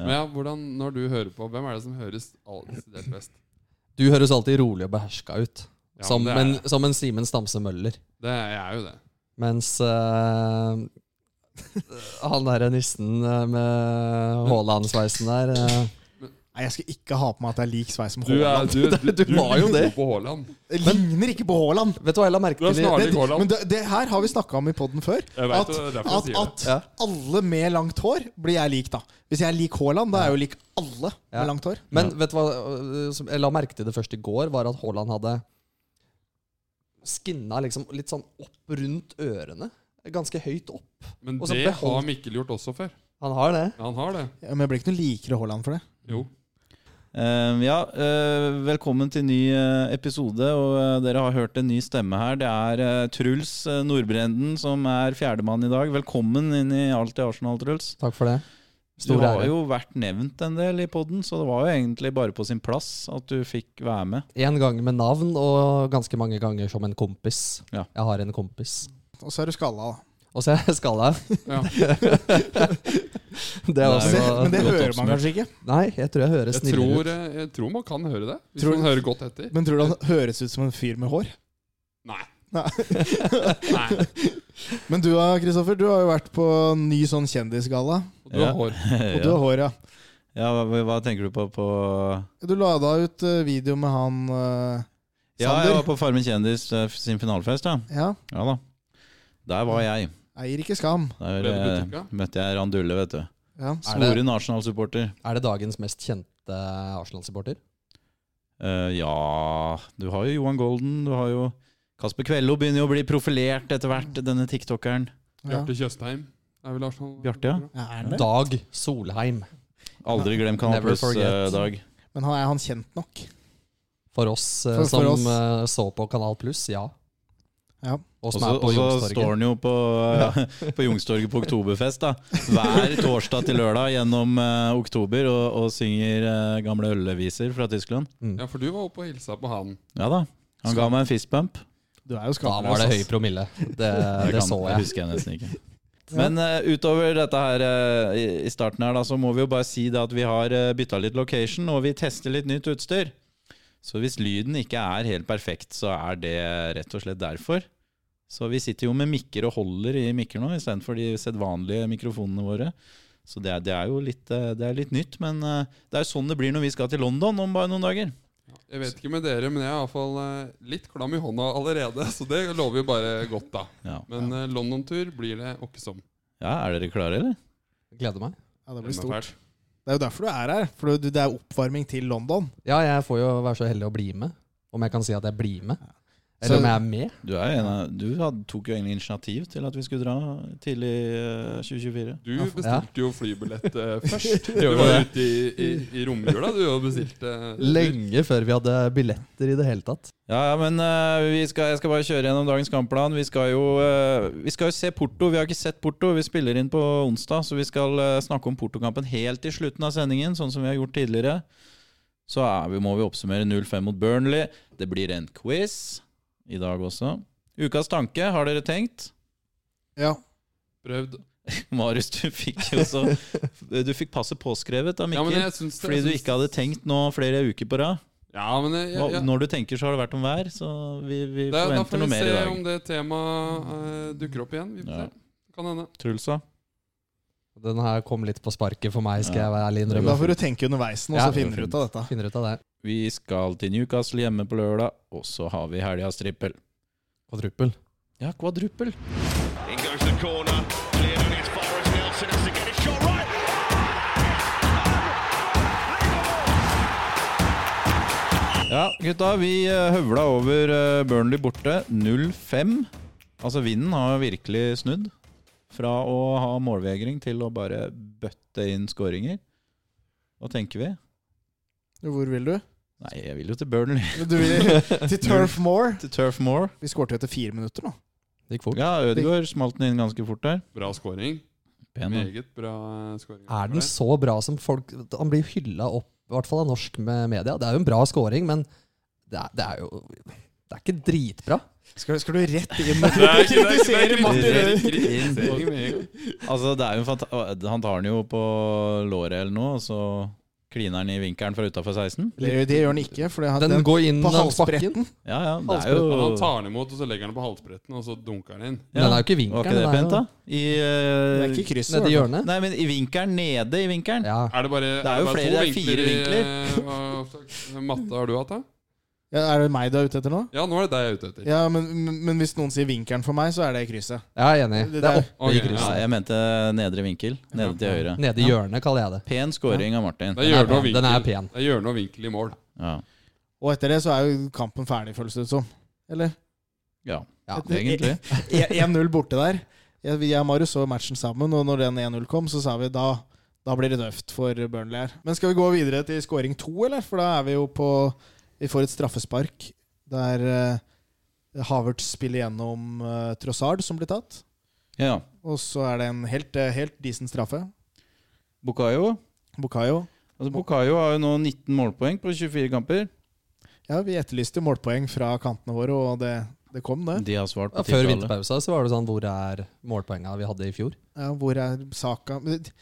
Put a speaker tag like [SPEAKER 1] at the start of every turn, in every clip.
[SPEAKER 1] Men ja, hvordan, når du hører på, hvem er det som høres all- desidert best?
[SPEAKER 2] Du høres alltid rolig og beherska ut.
[SPEAKER 1] Ja,
[SPEAKER 2] som,
[SPEAKER 1] men
[SPEAKER 2] en,
[SPEAKER 1] det, er,
[SPEAKER 2] som en Simen Stamse Møller.
[SPEAKER 1] det er jeg jo det.
[SPEAKER 2] Mens eh, han derre nissen eh, med Haaland-sveisen der eh,
[SPEAKER 3] Nei, jeg skal ikke ha på meg at jeg er lik sveis som
[SPEAKER 1] Du, er,
[SPEAKER 3] Haaland.
[SPEAKER 1] du, du,
[SPEAKER 2] Du var jo det.
[SPEAKER 1] På Haaland.
[SPEAKER 3] Jeg ligner ikke på Haaland!
[SPEAKER 2] Vet du hva jeg la merke
[SPEAKER 1] Du er
[SPEAKER 2] til? i-
[SPEAKER 1] snarlig
[SPEAKER 3] Det,
[SPEAKER 1] Haaland.
[SPEAKER 3] men det, det her har vi snakka om i poden før.
[SPEAKER 1] Jeg vet
[SPEAKER 3] At,
[SPEAKER 1] det, det er derfor
[SPEAKER 3] at,
[SPEAKER 1] jeg
[SPEAKER 3] at
[SPEAKER 2] sier det.
[SPEAKER 3] alle med langt hår blir jeg lik, da. Hvis jeg er lik Haaland, da er jeg jo lik alle
[SPEAKER 2] Ja.
[SPEAKER 3] med langt hår.
[SPEAKER 2] Men vet du hva øh, som jeg la merke til det først i går, var at Haaland hadde skinna liksom litt sånn opp rundt ørene. Ganske høyt opp.
[SPEAKER 1] Men
[SPEAKER 2] Og så
[SPEAKER 1] det
[SPEAKER 2] behold-
[SPEAKER 1] har Mikkel gjort også før.
[SPEAKER 2] Han har det.
[SPEAKER 1] Han har det.
[SPEAKER 3] Ja, Men jeg blir ikke noe likere Haaland for det.
[SPEAKER 1] Jo.
[SPEAKER 4] Eh, ja, eh, velkommen til ny eh, episode. Og eh, dere har hørt en ny stemme her. Det er eh, Truls eh, Nordbrenden som er fjerdemann i dag. Velkommen inn i Alt i Arsenal, Truls.
[SPEAKER 2] Takk for det.
[SPEAKER 4] Du
[SPEAKER 2] Stor
[SPEAKER 4] har
[SPEAKER 2] ære.
[SPEAKER 4] jo vært nevnt en del i poden, så det var jo egentlig bare på sin plass at du fikk være med.
[SPEAKER 2] Én gang med navn, og ganske mange ganger som en kompis.
[SPEAKER 4] Ja.
[SPEAKER 2] Jeg har en kompis.
[SPEAKER 3] Og så er du skalla, da.
[SPEAKER 2] Og så er jeg skalla.
[SPEAKER 1] Ja.
[SPEAKER 2] Det er
[SPEAKER 4] Nei,
[SPEAKER 2] også
[SPEAKER 3] Men det,
[SPEAKER 4] Ja,
[SPEAKER 3] men det
[SPEAKER 4] godt
[SPEAKER 3] hører man
[SPEAKER 4] oppsummert.
[SPEAKER 3] kanskje ikke.
[SPEAKER 2] Nei, jeg tror jeg høres
[SPEAKER 1] Jeg
[SPEAKER 2] snillere
[SPEAKER 1] tror,
[SPEAKER 2] ut.
[SPEAKER 1] eh, jeg tror man kan høre det. Hvis
[SPEAKER 3] Tror-
[SPEAKER 1] man hører godt etter.
[SPEAKER 3] Men tror du han høres ut som en fyr med hår?
[SPEAKER 1] Nei.
[SPEAKER 3] Nei.
[SPEAKER 1] Nei.
[SPEAKER 3] Men du da, Kristoffer, du har jo vært på en ny sånn kjendisgalla.
[SPEAKER 1] Og du har
[SPEAKER 4] Ja.
[SPEAKER 1] hår.
[SPEAKER 3] Og du har hår, ja.
[SPEAKER 4] ja, hva, hva tenker du på? på
[SPEAKER 3] Du la da ut eh, video med han eh,
[SPEAKER 4] ja, jeg var
[SPEAKER 3] Sander.
[SPEAKER 4] på Farmen kjendis eh, sin finalefest, ja.
[SPEAKER 3] Ja,
[SPEAKER 4] Ja da. Der var jeg.
[SPEAKER 3] Eier ikke skam.
[SPEAKER 1] Ble
[SPEAKER 4] Der
[SPEAKER 1] det
[SPEAKER 4] eh,
[SPEAKER 1] butikk,
[SPEAKER 4] møtte jeg Randulle, vet du.
[SPEAKER 3] Ja.
[SPEAKER 2] Er det-
[SPEAKER 4] Svoren Arsenal-supporter.
[SPEAKER 2] Er det dagens mest kjente Arsenal-supporter?
[SPEAKER 4] Eh, ja Du har jo Johan Golden, du har jo Kasper Kvello begynner jo å bli profilert etter hvert, denne tiktokeren.
[SPEAKER 3] Ja.
[SPEAKER 1] Bjarte Tjøstheim. Er vel Arsenal
[SPEAKER 4] Bjarte, ja.
[SPEAKER 3] Ja, er han det?
[SPEAKER 2] Dag Solheim.
[SPEAKER 4] Aldri glem Kanal
[SPEAKER 2] Never
[SPEAKER 4] Pluss,
[SPEAKER 2] forget.
[SPEAKER 4] eh, Dag.
[SPEAKER 3] Men han er han kjent nok?
[SPEAKER 2] For oss eh,
[SPEAKER 3] For-
[SPEAKER 2] som
[SPEAKER 3] for oss.
[SPEAKER 2] eh, så på Kanal Pluss, ja.
[SPEAKER 3] Ja.
[SPEAKER 2] Og
[SPEAKER 4] Og
[SPEAKER 2] som
[SPEAKER 4] så
[SPEAKER 2] er på
[SPEAKER 4] og så
[SPEAKER 2] Youngstorget.
[SPEAKER 4] står han jo på, eh, på Youngstorget på Oktoberfest, da. Hver torsdag til lørdag gjennom eh, oktober, og, og synger eh, gamle ølleviser fra Tyskland.
[SPEAKER 2] Mm.
[SPEAKER 1] Ja, for du var oppe og hilsa på han.
[SPEAKER 4] Ja da. Han ga meg en fistbump.
[SPEAKER 3] Du er jo altså.
[SPEAKER 2] Da
[SPEAKER 3] skamløs.
[SPEAKER 2] var det høy
[SPEAKER 3] ass.
[SPEAKER 2] promille. Det, det
[SPEAKER 4] kan-
[SPEAKER 2] så
[SPEAKER 4] det
[SPEAKER 2] jeg.
[SPEAKER 4] husker jeg nesten ikke. Men eh, utover dette her eh, i, i starten her, da, så må vi jo bare si det at vi har uh, bytta litt location, og vi tester litt nytt utstyr. Så hvis lyden ikke er helt perfekt, så er det rett og slett derfor. Så vi sitter jo med mikker og holder i mikker nå, istedenfor de sedvanlige mikrofonene våre. Så det er, det er jo litt, eh, det er litt nytt, men eh, det er jo sånn det blir når vi skal til London om bare noen dager.
[SPEAKER 1] Jeg vet ikke med dere, men jeg er iallfall eh, litt klam i hånda allerede. Så det lover jo bare godt, da.
[SPEAKER 4] Ja,
[SPEAKER 1] Men eh, London-tur blir det åkke som.
[SPEAKER 4] ja Er dere klare, eller?
[SPEAKER 2] Gleder meg.
[SPEAKER 3] Ja, det
[SPEAKER 1] Det
[SPEAKER 3] blir
[SPEAKER 1] er
[SPEAKER 3] stort.
[SPEAKER 1] fælt.
[SPEAKER 3] Det er jo derfor du er her. For du- det er oppvarming til London.
[SPEAKER 2] Ja, jeg får jo være så heldig å bli med. Om jeg kan si at jeg blir med. Eller
[SPEAKER 3] Så-
[SPEAKER 2] om jeg er med.
[SPEAKER 4] Du, er jo en av, du hadde, tok jo egentlig initiativ til at vi skulle dra tidlig eh, 2024.
[SPEAKER 1] Du bestilte jo flybillett eh, først. Du var
[SPEAKER 2] det.
[SPEAKER 1] ute i, i, i romjula du og bestilte eh,
[SPEAKER 2] Lenge før vi hadde billetter i det hele tatt.
[SPEAKER 4] Ja, ja, men eh, vi skal, jeg skal bare kjøre gjennom dagens kampplan. Vi skal, jo, eh, vi skal jo se Porto. Vi har ikke sett Porto. Vi spiller inn på onsdag, så vi skal eh, snakke om Porto-kampen helt i slutten av sendingen, sånn som vi har gjort tidligere. Så er vi, må vi oppsummere 0-5 mot Burnley. Det blir en quiz i dag også. Ukas tanke, har dere tenkt?
[SPEAKER 3] Ja.
[SPEAKER 1] prøvd.
[SPEAKER 4] Marius, du fikk jo så Du fikk passet påskrevet av
[SPEAKER 1] Ja,
[SPEAKER 4] Mikkel.
[SPEAKER 1] men jeg syns det-
[SPEAKER 4] fordi
[SPEAKER 1] jeg
[SPEAKER 4] du
[SPEAKER 1] syns-
[SPEAKER 4] ikke hadde tenkt nå flere uker på rad.
[SPEAKER 1] Ja, men jeg,
[SPEAKER 4] Hva-
[SPEAKER 1] jeg, jeg,
[SPEAKER 4] Når du tenker, så har det vært om vær. Så vi, vi
[SPEAKER 1] da, da
[SPEAKER 4] forventer
[SPEAKER 1] får vi
[SPEAKER 4] noe mer i
[SPEAKER 1] se
[SPEAKER 4] dag.
[SPEAKER 1] om det temaet eh, dukker opp igjen. Vi får
[SPEAKER 4] Ja.
[SPEAKER 1] se. Kan hende.
[SPEAKER 4] Trulsa.
[SPEAKER 2] Den her kom litt på sparket for meg, skal jeg være ærlig
[SPEAKER 3] Da
[SPEAKER 2] innrømme.
[SPEAKER 3] får du tenke underveis, og
[SPEAKER 2] Ja.
[SPEAKER 3] så finner du ut av dette.
[SPEAKER 2] Finner ut av det.
[SPEAKER 4] Vi skal til Newcastle hjemme på lørdag, og så har vi helgas trippel.
[SPEAKER 2] Kvadruppel.
[SPEAKER 4] Ja, kvadruppel.
[SPEAKER 5] In goes the corner, cleared and it's far as Nelson has to get it shot right.
[SPEAKER 4] Ja, gutta, vi eh, høvla over eh, Burnley borte. 0-5. Altså, vinden har virkelig snudd. Fra å ha målvegring til å bare bøtte inn skåringer. Hva tenker vi?
[SPEAKER 3] Hvor vil du?
[SPEAKER 4] Nei, jeg vil jo til Burnley.
[SPEAKER 3] Du vil til Turf Moor.
[SPEAKER 4] Til Turf Moor.
[SPEAKER 3] Vi skårte jo etter fire minutter nå.
[SPEAKER 2] Det gikk fort.
[SPEAKER 4] Ja, Ødegaard smalt den inn ganske fort der.
[SPEAKER 1] Bra scoring.
[SPEAKER 4] Pen, da.
[SPEAKER 1] Meget bra scoring.
[SPEAKER 2] Er den så bra som folk Han blir hylla opp, i hvert fall av norsk med media. Det er jo en bra scoring, men det er, det er jo Det er ikke dritbra.
[SPEAKER 3] Skal, skal du rett inn og
[SPEAKER 1] Det er ikke- det er ikke- det er
[SPEAKER 3] kritisere
[SPEAKER 1] ikke-
[SPEAKER 3] Martin
[SPEAKER 1] det er
[SPEAKER 3] Ødegaard?
[SPEAKER 1] ikke- det er ikke- det er ikke-
[SPEAKER 4] Altså, det er jo en fanta han tar den jo på låret eller noe, og så kliner han i vinkelen fra utafor 16.
[SPEAKER 3] Det, det gjør han ikke, for det,
[SPEAKER 6] Den,
[SPEAKER 3] den,
[SPEAKER 6] går inn
[SPEAKER 3] på
[SPEAKER 6] langs
[SPEAKER 3] halsbretten.
[SPEAKER 6] bakken.
[SPEAKER 4] Ja, ja, det er jo
[SPEAKER 1] Men Han tar den imot, og så legger han den på halsbretten, og så dunker han inn.
[SPEAKER 4] ja.
[SPEAKER 2] Den er jo ikke i vinkelen.
[SPEAKER 4] Var ikke det
[SPEAKER 2] den er
[SPEAKER 4] pent,
[SPEAKER 2] jo
[SPEAKER 4] da? I,
[SPEAKER 3] det
[SPEAKER 4] eh,
[SPEAKER 3] er ikke krysset.
[SPEAKER 2] Nede i
[SPEAKER 3] i hvert fall.
[SPEAKER 2] hjørnet.
[SPEAKER 4] Nei, men i vinkelen. Nede i vinkelen.
[SPEAKER 2] Ja.
[SPEAKER 1] Er det bare,
[SPEAKER 4] Det er jo
[SPEAKER 1] bare
[SPEAKER 4] flere,
[SPEAKER 1] to
[SPEAKER 4] det er fire
[SPEAKER 1] i, eh, hva- matte har du hatt, da?
[SPEAKER 3] Ja, er det meg du er ute etter nå?
[SPEAKER 1] Ja, nå er det deg jeg er ute etter.
[SPEAKER 3] Ja, men, men- men hvis noen sier vinkelen for meg, så er det krysset.
[SPEAKER 2] Jeg er enig. Det er
[SPEAKER 3] Det der-
[SPEAKER 2] oppe i
[SPEAKER 1] Ok,
[SPEAKER 2] krysset.
[SPEAKER 4] Ja, jeg mente nedre vinkel. Nede til høyre.
[SPEAKER 2] Nede i hjørnet, kaller jeg det.
[SPEAKER 4] Pen scoring av Martin.
[SPEAKER 1] Det er hjørne og
[SPEAKER 2] pen.
[SPEAKER 1] vinkel.
[SPEAKER 2] Den er pen.
[SPEAKER 1] Det er hjørne og vinkel i mål.
[SPEAKER 4] Ja.
[SPEAKER 3] Og etter det så er jo kampen ferdig, føles det ut som. Eller?
[SPEAKER 4] ja.
[SPEAKER 2] Ja.
[SPEAKER 4] Egentlig.
[SPEAKER 3] 1-0 E- borte der. Jeg, jeg og Marius så matchen sammen, og når den 1-0 kom, så sa vi da da blir det tøft for Burnley her. Men skal vi gå videre til scoring to, eller? For da er vi jo på Vi får et straffespark der eh, Havertz spiller gjennom eh, Trossard, som blir tatt.
[SPEAKER 4] Ja.
[SPEAKER 3] Og så er det en helt, eh, helt decent straffe.
[SPEAKER 4] Bukayo.
[SPEAKER 3] Bukayo.
[SPEAKER 4] Altså, Bukayo har jo nå 19 målpoeng på 24 kamper.
[SPEAKER 3] Ja, vi etterlyste jo målpoeng fra kantene våre, og det, det kom, det.
[SPEAKER 4] De har svart
[SPEAKER 2] Ja,
[SPEAKER 4] på
[SPEAKER 2] før
[SPEAKER 4] tiltale.
[SPEAKER 2] vinterpausa så var det sånn Hvor er målpoenga vi hadde i fjor?
[SPEAKER 3] Ja, hvor er Saka Men det-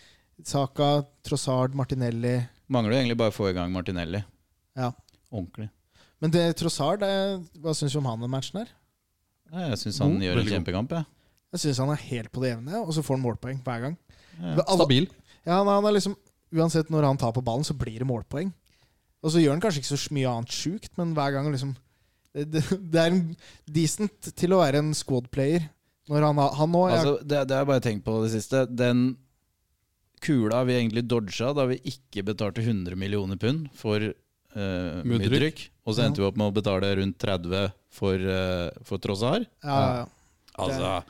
[SPEAKER 3] Saka, Trossard, Martinelli
[SPEAKER 4] Mangler jo egentlig bare å få i gang Martinelli.
[SPEAKER 3] Ja.
[SPEAKER 4] Ordentlig.
[SPEAKER 3] Men det, Trossard, det, hva syns du om han i matchen her?
[SPEAKER 4] Ja, Jeg syns han
[SPEAKER 1] God.
[SPEAKER 4] gjør en
[SPEAKER 1] Veldig
[SPEAKER 4] kjempekamp, jeg.
[SPEAKER 3] Jeg syns han er helt på det jevne, og så får han målpoeng hver gang.
[SPEAKER 4] Ja.
[SPEAKER 3] Men alle-
[SPEAKER 2] Stabil.
[SPEAKER 3] Ja, han, han er liksom Uansett når han tar på ballen, så blir det målpoeng. Og så gjør han kanskje ikke så mye annet sjukt, men hver gang liksom Det, det, det er en decent til å være en squad-player. Når han, har- han nå jeg-
[SPEAKER 4] Altså, det, det har jeg bare tenkt på det siste. Den kula vi egentlig dodga da vi ikke betalte 100 millioner pund for uh,
[SPEAKER 1] Mudryk.
[SPEAKER 4] Mudryk, og så endte vi opp med å betale rundt 30 for, eh, for Trossar.
[SPEAKER 3] ja, ja, ja.
[SPEAKER 4] Altså,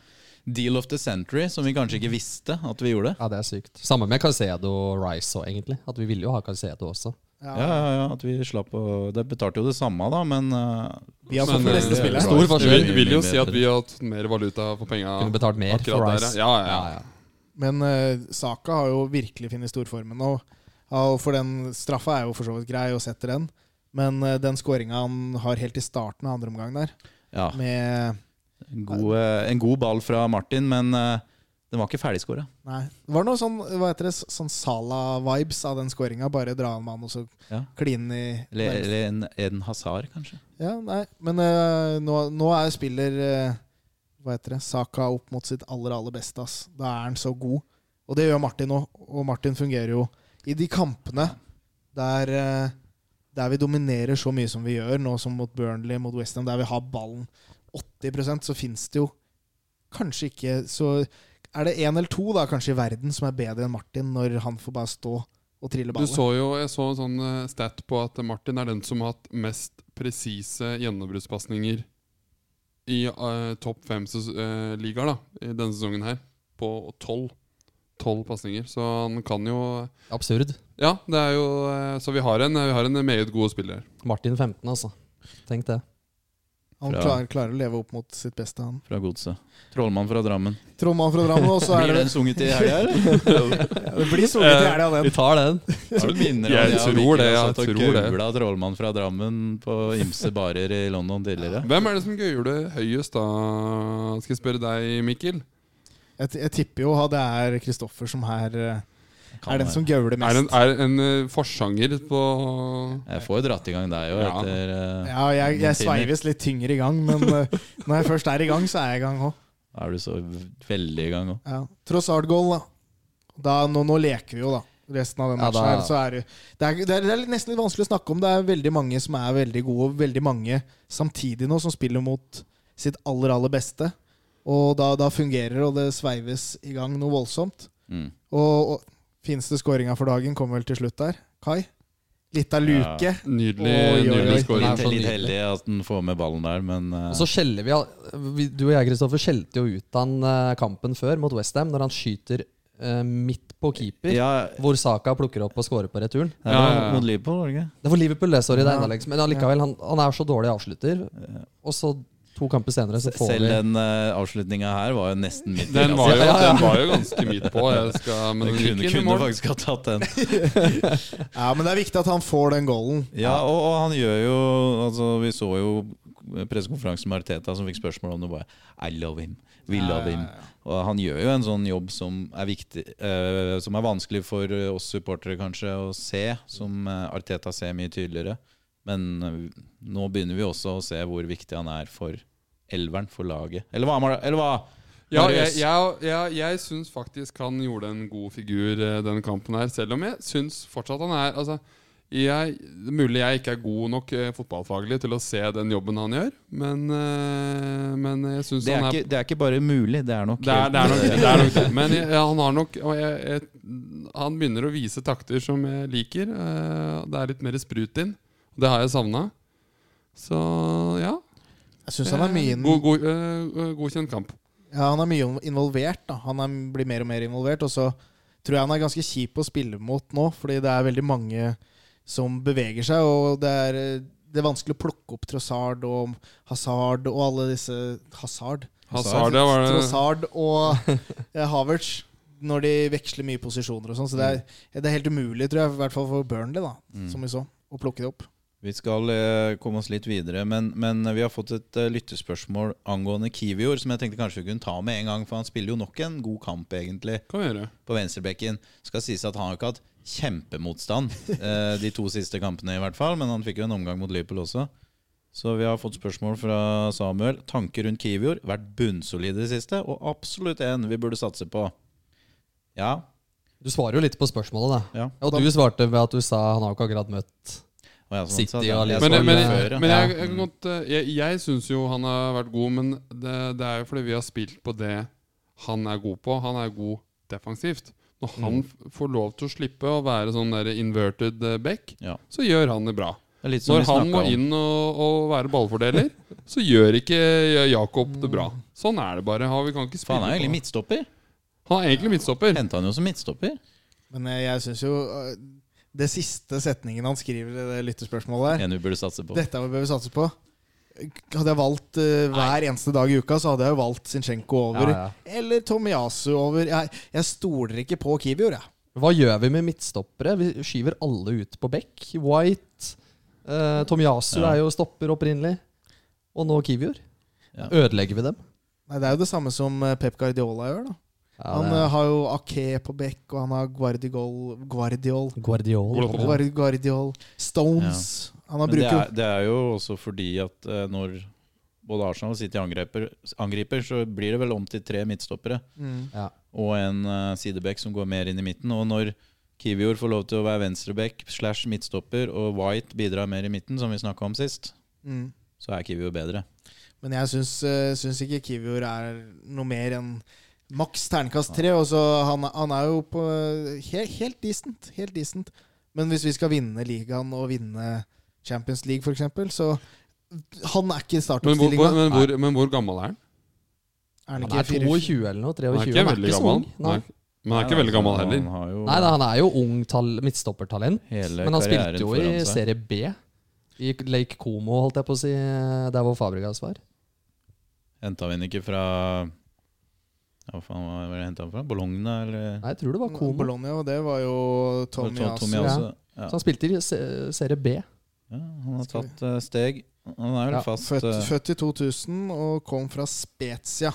[SPEAKER 4] deal of the century, som vi kanskje ikke visste at vi gjorde.
[SPEAKER 2] Ja, det er sykt. Samme med Caicedo og Rice òg, egentlig. At vi ville jo ha Caicedo også.
[SPEAKER 3] Ja,
[SPEAKER 4] Ja, ja, ja, at vi slapp å Det betalte jo det samme, da, men eh,
[SPEAKER 3] Vi har fått
[SPEAKER 1] Men,
[SPEAKER 3] fleste
[SPEAKER 1] eh,
[SPEAKER 3] spillere.
[SPEAKER 2] Stor forskjell.
[SPEAKER 1] Vi vil jo si at vi har hatt mer valuta for penga.
[SPEAKER 2] Kunne betalt mer for
[SPEAKER 1] akkurat der,
[SPEAKER 2] Rice.
[SPEAKER 1] ja. Ja, ja.
[SPEAKER 3] Men eh, Saka har jo virkelig funnet storformen. Og, og for den straffa er jo for så vidt grei og setter den. Men eh, den skåringa han har helt i starten av andre omgang der,
[SPEAKER 4] Ja,
[SPEAKER 3] med
[SPEAKER 4] en god, eh, en god ball fra Martin, men eh, den var ikke ferdigskåra.
[SPEAKER 3] Nei. Det var noe sånn hva heter det, sånn Sala-vibes av den skåringa. Bare dra en mann og så
[SPEAKER 4] Ja.
[SPEAKER 3] kline i
[SPEAKER 4] Eller, eller en, en hasard, kanskje.
[SPEAKER 3] Ja, nei. Men eh, nå, nå er spiller eh, Hva heter det? Saka opp mot sitt aller, aller beste. Ass. Da er han så god. Og det gjør Martin òg. Og Martin fungerer jo i de kampene der, eh, der vi dominerer så mye som vi gjør, nå som mot Burnley, mot Westham, der vi har ballen 80 så fins det jo kanskje ikke Så er det én eller to da kanskje i verden som er bedre enn Martin, når han får bare stå og trille
[SPEAKER 1] Du
[SPEAKER 3] ballen.
[SPEAKER 1] så jo, jeg så en sånn eh, stat på at Martin er den som har hatt mest presise gjennombruddspasninger i eh, topp fem ses- eh, ligaer da, i denne sesongen her, på tolv. Tolv pasninger, så han kan jo
[SPEAKER 2] Absurd.
[SPEAKER 1] Ja, det er jo eh, Så vi har en, vi har en meget god spiller.
[SPEAKER 2] Martin 15, altså. Tenk det.
[SPEAKER 3] Han
[SPEAKER 4] Fra-
[SPEAKER 3] klarer, klarer å leve opp mot sitt beste, han.
[SPEAKER 4] Fra godset. Trollmann fra Drammen.
[SPEAKER 3] Trollmann fra Drammen, og så er
[SPEAKER 4] Blir
[SPEAKER 3] det
[SPEAKER 4] den sunget i helga, eller?
[SPEAKER 3] Det blir
[SPEAKER 4] Eh,
[SPEAKER 3] sunget i helga, den.
[SPEAKER 2] Vi tar den.
[SPEAKER 4] Har du minner
[SPEAKER 1] Eh, Jeg
[SPEAKER 4] og
[SPEAKER 1] tror det,
[SPEAKER 4] Mikkel
[SPEAKER 1] jeg
[SPEAKER 4] har satt og
[SPEAKER 1] tror det.
[SPEAKER 4] gaula Trollmann fra Drammen på ymse barer i London tidligere?
[SPEAKER 1] Hvem er det som gøyer det høyest, da? Skal jeg spørre deg, Mikkel?
[SPEAKER 3] Jeg, jeg tipper jo at det er Kristoffer som her eh,
[SPEAKER 4] Kan
[SPEAKER 3] er den
[SPEAKER 4] være.
[SPEAKER 3] som gauler
[SPEAKER 1] Er det en,
[SPEAKER 3] mest.
[SPEAKER 1] er det en eh, forsanger på
[SPEAKER 4] Jeg får jo dratt i gang deg òg,
[SPEAKER 1] Ja.
[SPEAKER 4] etter eh,
[SPEAKER 3] Ja, jeg, jeg
[SPEAKER 4] Noen timer.
[SPEAKER 3] sveives litt tyngre i gang, men eh, når jeg først er i gang, så er jeg i gang òg.
[SPEAKER 4] Da er du så veldig i gang òg.
[SPEAKER 3] Ja. Trossard-goal, da. da nå, nå leker vi jo, da. Resten av den
[SPEAKER 2] Ja, da-
[SPEAKER 3] matchen her, så er det, det, er, det, er, det er nesten litt vanskelig å snakke om. Det er veldig mange som er veldig gode, og veldig mange samtidig nå som spiller mot sitt aller, aller beste. Og da, da fungerer det, og det sveives i gang noe voldsomt.
[SPEAKER 4] Mm.
[SPEAKER 3] Og, og fineste skåringa for dagen kommer vel til slutt der. Kai. Litt av
[SPEAKER 4] Ja.
[SPEAKER 3] luke.
[SPEAKER 1] Nydelig,
[SPEAKER 3] Oi, oi, oi. sånn
[SPEAKER 1] nydelig scoring.
[SPEAKER 2] Nei.
[SPEAKER 4] Litt,
[SPEAKER 2] så
[SPEAKER 4] litt
[SPEAKER 2] nydelig.
[SPEAKER 4] heldig at den får med ballen der, men eh,
[SPEAKER 2] Og så skjeller vi al- vi- Du og jeg, Kristoffer, skjelte jo ut han eh, kampen før mot Westham, når han skyter eh, midt på keeper,
[SPEAKER 4] ja,
[SPEAKER 2] hvor Saka plukker opp og scorer på returen.
[SPEAKER 4] det er
[SPEAKER 1] Ja, ja, ja.
[SPEAKER 4] mot Liverpool, var det ikke?
[SPEAKER 2] Det var Liverpool, det, sorry. Det er
[SPEAKER 3] Ja.
[SPEAKER 2] innleggs- Men allikevel, han, han er så dårlig avslutter, og så to kamper senere så får
[SPEAKER 4] Selv
[SPEAKER 2] vi
[SPEAKER 4] den uh, avslutninga her var jo nesten midt i altså.
[SPEAKER 1] Den var, jo,
[SPEAKER 4] glasset.
[SPEAKER 1] den var jo ganske midt på. Jeg skal, men
[SPEAKER 4] Den
[SPEAKER 1] den
[SPEAKER 4] kunne,
[SPEAKER 1] gikk inn i
[SPEAKER 4] kunne
[SPEAKER 1] mål.
[SPEAKER 4] faktisk ha tatt den.
[SPEAKER 3] Ja, men det er viktig at han får den goalen.
[SPEAKER 4] Ja, og, og han gjør jo Altså, vi så jo pressekonferansen med Arteta som fikk spørsmål om det, bare I love him. We love
[SPEAKER 3] Ja,
[SPEAKER 4] him.
[SPEAKER 3] ja, ja.
[SPEAKER 4] Og han gjør jo en sånn jobb som er viktig eh, Som er vanskelig for eh, oss supportere kanskje å se, som eh, Arteta ser mye tydeligere. Men eh, nå begynner vi også å se hvor viktig han er for elveren, for laget. Eller hva? Mar eller hva?
[SPEAKER 1] Ja, jeg,
[SPEAKER 4] Marius?
[SPEAKER 1] jeg, jeg, jeg syns faktisk han gjorde en god figur eh, denne kampen her, selv om jeg syns fortsatt han er altså, jeg, det er Mulig jeg ikke er god nok eh, fotballfaglig til å se den jobben han gjør, men, eh, men jeg syns
[SPEAKER 4] Det, er
[SPEAKER 1] han er
[SPEAKER 4] ikke, det er ikke bare mulig, det er nok
[SPEAKER 1] det er, det, er nok,
[SPEAKER 4] helt-
[SPEAKER 1] det er nok det. Men jeg, han har nok og jeg, jeg, Han begynner å vise takter som jeg liker. eh, Det er litt mer sprut inn. Det har jeg savna. Så ja.
[SPEAKER 3] Jeg syns han er mye inn-
[SPEAKER 1] God, god, eh, godkjent kamp.
[SPEAKER 3] Ja, han er mye involvert. da Han er, blir mer og mer involvert. Og så tror jeg han er ganske kjip å spille mot nå, fordi det er veldig mange som beveger seg. Og det er, eh, det er vanskelig å plukke opp Trossard og Hazard og alle disse Hazard?
[SPEAKER 1] Hazard, det var det.
[SPEAKER 3] Trossard Altså, og eh, Havertz. Når de veksler mye posisjoner og sånn. Så det er,
[SPEAKER 2] Mm.
[SPEAKER 3] det er helt umulig, tror jeg, i hvert fall for Burnley, da, som vi så, å plukke det opp.
[SPEAKER 4] Vi skal eh, komme oss litt videre, men, men vi har fått et eh, lyttespørsmål angående Kivior, som jeg tenkte kanskje vi kunne ta med en gang, for han spiller jo nok en god kamp, egentlig,
[SPEAKER 1] Kan vi gjøre.
[SPEAKER 4] på venstrebekken. Skal sies at han har ikke hatt kjempemotstand eh, de to siste kampene, i hvert fall, men han fikk jo en omgang mot Liverpool også. Så vi har fått spørsmål fra Samuel. Tanker rundt Kivior? Vært bunnsolid i det siste, og absolutt en vi burde satse på. Ja,
[SPEAKER 2] Du svarer jo litt på spørsmålet, da.
[SPEAKER 4] Ja.
[SPEAKER 2] Og du svarte ved at du sa han har jo ikke akkurat møtt
[SPEAKER 4] og jeg,
[SPEAKER 2] City
[SPEAKER 4] sa det.
[SPEAKER 2] og
[SPEAKER 4] sånn Jeg
[SPEAKER 1] Men,
[SPEAKER 2] Liverpool.
[SPEAKER 4] sa
[SPEAKER 1] men,
[SPEAKER 4] det
[SPEAKER 2] jeg-
[SPEAKER 4] før, ja.
[SPEAKER 1] men jeg,
[SPEAKER 2] Ja.
[SPEAKER 1] jeg, kan godt, eh, jeg, jeg syns jo han har vært god, men det, det er jo fordi vi har spilt på det han er god på. Han er god defensivt. Når han
[SPEAKER 4] Mm.
[SPEAKER 1] f- får lov til å slippe å være sånn der inverted eh, back,
[SPEAKER 4] Ja.
[SPEAKER 1] så gjør han det bra.
[SPEAKER 4] Det er litt som
[SPEAKER 1] Når
[SPEAKER 4] vi
[SPEAKER 1] han
[SPEAKER 4] snakket
[SPEAKER 1] må
[SPEAKER 4] om.
[SPEAKER 1] inn og, og være ballfordeler, så gjør ikke Jakob det bra. Sånn er det bare. Han- Vi kan ikke
[SPEAKER 4] For
[SPEAKER 1] spille
[SPEAKER 4] han er jo
[SPEAKER 1] på
[SPEAKER 4] egentlig
[SPEAKER 1] det.
[SPEAKER 4] midtstopper.
[SPEAKER 1] Han er egentlig midtstopper.
[SPEAKER 4] Henta han jo som midtstopper.
[SPEAKER 3] Men eh, jeg syns jo eh, det siste setningen han skriver i det lyttespørsmålet der
[SPEAKER 4] En vi burde satse på.
[SPEAKER 3] Dette er hva vi bør satse på. Hadde jeg valgt eh, hver eneste dag i uka, så hadde jeg jo valgt Zinchenko over.
[SPEAKER 2] Ja,
[SPEAKER 3] Eller Tomiyasu over. Jeg, jeg stoler ikke på Kivior, jeg.
[SPEAKER 2] Hva gjør vi med midtstoppere? Vi skyver alle ut på bekk. White, eh, Tomiyasu
[SPEAKER 4] Ja.
[SPEAKER 2] er jo stopper opprinnelig. Og nå Kivior.
[SPEAKER 4] Ja.
[SPEAKER 2] Ødelegger vi dem?
[SPEAKER 3] Nei, det er jo det samme som eh, Pep Guardiola gjør. da
[SPEAKER 2] Ja,
[SPEAKER 3] Han
[SPEAKER 2] det er-
[SPEAKER 3] eh, har jo Ake på bekk, og han har Guardiol Guardiol,
[SPEAKER 2] Guardiola.
[SPEAKER 1] Guardiola.
[SPEAKER 3] Guard- Guardiol Stones. Han har
[SPEAKER 4] Men det
[SPEAKER 3] bruker jo
[SPEAKER 4] er, det er jo også fordi at eh, når både Arsenal og City angriper, angriper, så blir det vel om til tre midtstoppere
[SPEAKER 3] mm.
[SPEAKER 2] Ja.
[SPEAKER 4] og en uh, sideback som går mer inn i midten. Og når Kivior får lov til å være venstreback slash midtstopper, og White bidrar mer i midten, som vi snakka om sist,
[SPEAKER 3] Mm.
[SPEAKER 4] så er Kivior bedre.
[SPEAKER 3] Men jeg syns, eh, syns ikke Kivior er noe mer enn maks terningkast tre. Og så han, han er jo på helt, helt decent. Helt decent. Men hvis vi skal vinne ligaen og vinne Champions League, f.eks., så Han er ikke i
[SPEAKER 1] Men hvor, hvor,
[SPEAKER 3] startoppstillinga.
[SPEAKER 1] men, hvor, men hvor gammel er han?
[SPEAKER 3] Er
[SPEAKER 2] Han
[SPEAKER 3] han ikke
[SPEAKER 2] er
[SPEAKER 3] fire-
[SPEAKER 2] 22 eller noe? 23?
[SPEAKER 1] Han er ikke veldig
[SPEAKER 2] så
[SPEAKER 1] gammel.
[SPEAKER 2] ung. Nei.
[SPEAKER 1] Nei. Men han er ikke veldig gammel heller.
[SPEAKER 4] Han har jo
[SPEAKER 2] Nei, da, han er jo ung tall- midtstoppertalent.
[SPEAKER 4] hele
[SPEAKER 2] Men han
[SPEAKER 4] karrieren
[SPEAKER 2] spilte jo i
[SPEAKER 4] foran seg.
[SPEAKER 2] serie B. I Lake Como, holdt jeg på å si. Der hvor Fabregas var.
[SPEAKER 4] Henta vi han ikke fra ja, hva faen var det henta han fra? Bologna, eller?
[SPEAKER 2] Nei, jeg tror det var Como.
[SPEAKER 3] Bologna, og det var jo
[SPEAKER 4] Tom-
[SPEAKER 3] Tommy Asu.
[SPEAKER 4] Tomiyasu. Ja.
[SPEAKER 2] Så han spilte i se- serie B.
[SPEAKER 4] Ja, han har
[SPEAKER 3] Skal vi-
[SPEAKER 4] tatt eh, steg. Han er vel
[SPEAKER 2] Ja,
[SPEAKER 4] fast
[SPEAKER 3] Født,
[SPEAKER 4] eh,
[SPEAKER 3] født i 2000 og kom fra Spezia.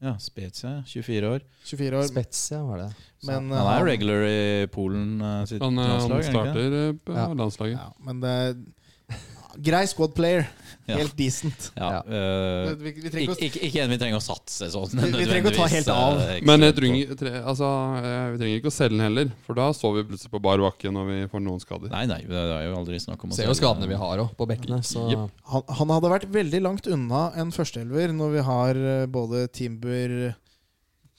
[SPEAKER 4] Ja, Spezia, 24 år.
[SPEAKER 3] 24 år.
[SPEAKER 2] Spezia var det.
[SPEAKER 3] Men,
[SPEAKER 4] han er
[SPEAKER 3] eh,
[SPEAKER 4] regular i Polen eh, sitt
[SPEAKER 1] Han, eh,
[SPEAKER 4] landslag,
[SPEAKER 1] han
[SPEAKER 4] er han ikke?
[SPEAKER 1] starter eh, på
[SPEAKER 2] Ja.
[SPEAKER 1] landslaget.
[SPEAKER 3] ja, men det er Grei squad player.
[SPEAKER 4] Ja.
[SPEAKER 3] Helt decent.
[SPEAKER 2] Ja.
[SPEAKER 4] Ja, eh,
[SPEAKER 3] Vi, vi trenger ikke
[SPEAKER 4] ikke,
[SPEAKER 3] å
[SPEAKER 4] ikke, ikke en vi trenger å satse sånn.
[SPEAKER 3] Vi- vi trenger ikke å ta helt av.
[SPEAKER 4] nødvendigvis, eh, ekstremt
[SPEAKER 1] Men jeg
[SPEAKER 4] på.
[SPEAKER 1] trenger, tre, altså, eh, vi trenger ikke å selge den heller, for da står vi plutselig på bar bakke når vi får noen skader.
[SPEAKER 4] Nei, nei, det er jo aldri snakk om å
[SPEAKER 2] Ser jo
[SPEAKER 4] selge.
[SPEAKER 2] skadene vi har òg, på bekkene. Så
[SPEAKER 1] Jepp.
[SPEAKER 3] Han, han hadde vært veldig langt unna en førsteelver når vi har eh, både Timber,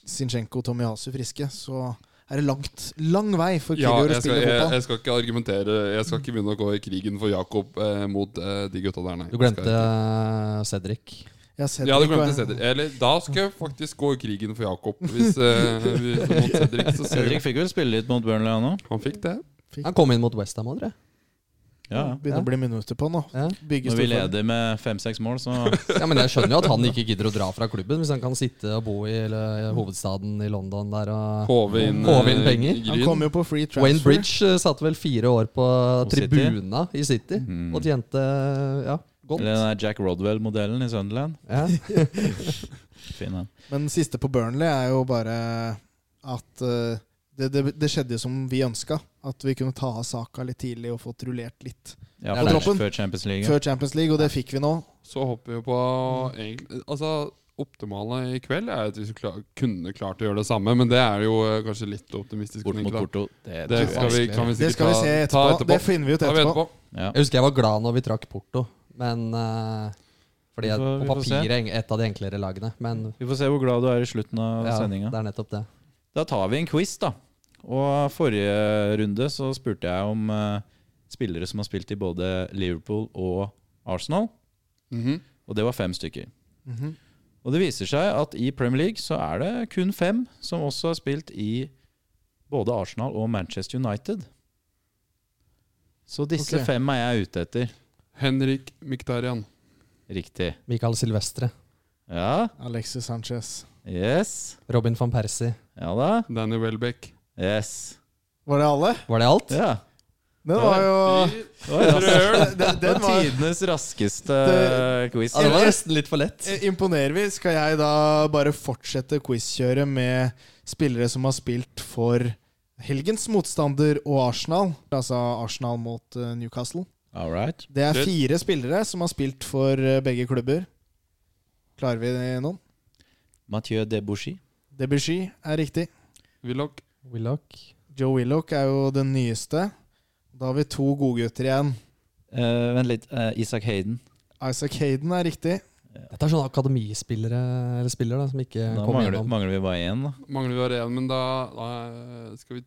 [SPEAKER 3] Zinchenko og Tomiyasu friske. Så er det langt, lang vei for
[SPEAKER 1] Ja,
[SPEAKER 3] Kivior
[SPEAKER 1] jeg
[SPEAKER 3] å
[SPEAKER 1] skal,
[SPEAKER 3] spille
[SPEAKER 1] jeg,
[SPEAKER 3] fotball.
[SPEAKER 1] jeg skal ikke argumentere Jeg skal ikke begynne å gå i krigen for Jakob eh, mot eh, de gutta der, nei.
[SPEAKER 2] du glemte eh,
[SPEAKER 1] Skal jeg ikke.
[SPEAKER 2] Cedric.
[SPEAKER 3] Jeg har sett
[SPEAKER 1] Ja, du
[SPEAKER 3] det ikke,
[SPEAKER 1] glemte
[SPEAKER 3] og jeg-
[SPEAKER 1] Cedric. Eller da skal jeg faktisk gå i krigen for Jakob. Hvis, eh, vi- mot Cedric, så ser jeg.
[SPEAKER 4] Cedric fikk vel spille litt mot Burnley, han òg.
[SPEAKER 1] Han fikk det.
[SPEAKER 2] Han kom inn mot Westham òg, tror jeg.
[SPEAKER 4] Ja, ja.
[SPEAKER 3] Begynner å bli minutter på nå.
[SPEAKER 2] Ja.
[SPEAKER 3] Bygge
[SPEAKER 4] Når vi
[SPEAKER 3] storform.
[SPEAKER 4] leder med fem-seks mål, så
[SPEAKER 2] Ja, men jeg skjønner jo at han ikke gidder å dra fra klubben hvis han kan sitte og bo i eller, hovedstaden i London der og
[SPEAKER 1] Håve inn,
[SPEAKER 2] Håve inn
[SPEAKER 1] eh,
[SPEAKER 2] penger.
[SPEAKER 1] Gryn.
[SPEAKER 3] Han kom jo på free transfer.
[SPEAKER 2] Wayne Bridge eh, satt vel fire år på
[SPEAKER 4] City.
[SPEAKER 2] tribuna i City
[SPEAKER 4] Mm.
[SPEAKER 2] og tjente ja,
[SPEAKER 6] Gont.
[SPEAKER 4] Eller den der Jack Rodwell-modellen i Sunderland.
[SPEAKER 2] Ja.
[SPEAKER 4] Fin den.
[SPEAKER 3] Men siste på Burnley er jo bare at eh, det, det, det skjedde jo som vi ønska. At vi kunne ta av saka litt tidlig og fått rullert litt
[SPEAKER 4] Ja,
[SPEAKER 2] Ja,
[SPEAKER 4] før-
[SPEAKER 3] troppen.
[SPEAKER 4] før Champions League.
[SPEAKER 3] før Champions League, og det fikk vi nå.
[SPEAKER 1] Så håper vi på egentlig, Altså, optimale i kveld er at vi skulle kla- kunne klart å gjøre det samme, men det er jo eh, kanskje litt optimistisk.
[SPEAKER 4] Bort
[SPEAKER 1] tenker
[SPEAKER 4] mot
[SPEAKER 1] jeg, da.
[SPEAKER 4] Porto. Det,
[SPEAKER 1] Det
[SPEAKER 4] tror jeg.
[SPEAKER 1] skal vi, kan vi
[SPEAKER 3] Det
[SPEAKER 1] sikkert
[SPEAKER 3] skal vi se
[SPEAKER 1] ta,
[SPEAKER 3] etterpå.
[SPEAKER 1] ta etterpå.
[SPEAKER 3] Det finner vi ut
[SPEAKER 1] Tar vi
[SPEAKER 3] etterpå.
[SPEAKER 1] etterpå.
[SPEAKER 4] Ja.
[SPEAKER 2] Jeg husker jeg var glad når vi trakk Porto, men eh, Fordi
[SPEAKER 4] Vi får-
[SPEAKER 2] jeg,
[SPEAKER 4] vi
[SPEAKER 2] på
[SPEAKER 4] får se.
[SPEAKER 2] papiret er et av de enklere lagene. Men
[SPEAKER 4] Vi får se hvor glad du er i slutten av
[SPEAKER 2] ja,
[SPEAKER 4] sendinga.
[SPEAKER 2] det er nettopp det.
[SPEAKER 4] Da tar vi en quiz, da. Og forrige runde så spurte jeg om eh, spillere som har spilt i både Liverpool og Arsenal.
[SPEAKER 1] Mhm.
[SPEAKER 4] Og det var fem stykker.
[SPEAKER 3] Mhm.
[SPEAKER 4] Og det viser seg at i Premier League så er det kun fem som også har spilt i både Arsenal og Manchester United. Så disse
[SPEAKER 3] Ok.
[SPEAKER 4] fem er jeg ute etter.
[SPEAKER 1] Henrik Miktarian.
[SPEAKER 4] Riktig.
[SPEAKER 2] Michael Silvestre,
[SPEAKER 4] Ja.
[SPEAKER 3] Alexis Sanchez.
[SPEAKER 4] Yes.
[SPEAKER 2] Robin van Persie.
[SPEAKER 4] Ja da.
[SPEAKER 1] Danny Welbeck.
[SPEAKER 4] Yes.
[SPEAKER 3] Var det alle?
[SPEAKER 2] Var det alt?
[SPEAKER 4] Ja.
[SPEAKER 3] Den var jo
[SPEAKER 4] Oi, altså.
[SPEAKER 3] Den,
[SPEAKER 4] Det
[SPEAKER 3] den
[SPEAKER 4] var
[SPEAKER 3] var
[SPEAKER 4] tidenes raskeste
[SPEAKER 3] Det-
[SPEAKER 4] quiz.
[SPEAKER 2] Ja, det var nesten litt for lett.
[SPEAKER 3] Eh, Imponerer vi, skal jeg da bare fortsette quizkjøret med spillere som har spilt for helgens motstander og Arsenal. Altså Arsenal mot eh, Newcastle.
[SPEAKER 4] All right.
[SPEAKER 3] Det er
[SPEAKER 1] Shit.
[SPEAKER 3] fire spillere som har spilt for eh, begge klubber. Klarer vi det noen?
[SPEAKER 4] Mathieu Debouchy.
[SPEAKER 3] Debussy er riktig.
[SPEAKER 1] Willoch.
[SPEAKER 2] Willoch.
[SPEAKER 3] Joe Willoch er jo den nyeste. Da har vi to godgutter igjen.
[SPEAKER 4] Eh, vent litt. eh, Isak Hayden.
[SPEAKER 3] Isaac Hayden er riktig.
[SPEAKER 2] Dette er sånne akademispillere eller spillere da, som ikke
[SPEAKER 4] Da
[SPEAKER 2] kom
[SPEAKER 4] mangler,
[SPEAKER 2] gjennom.
[SPEAKER 4] mangler vi bare én, da.
[SPEAKER 1] Mangler vi bare én, men da, da eh, skal vi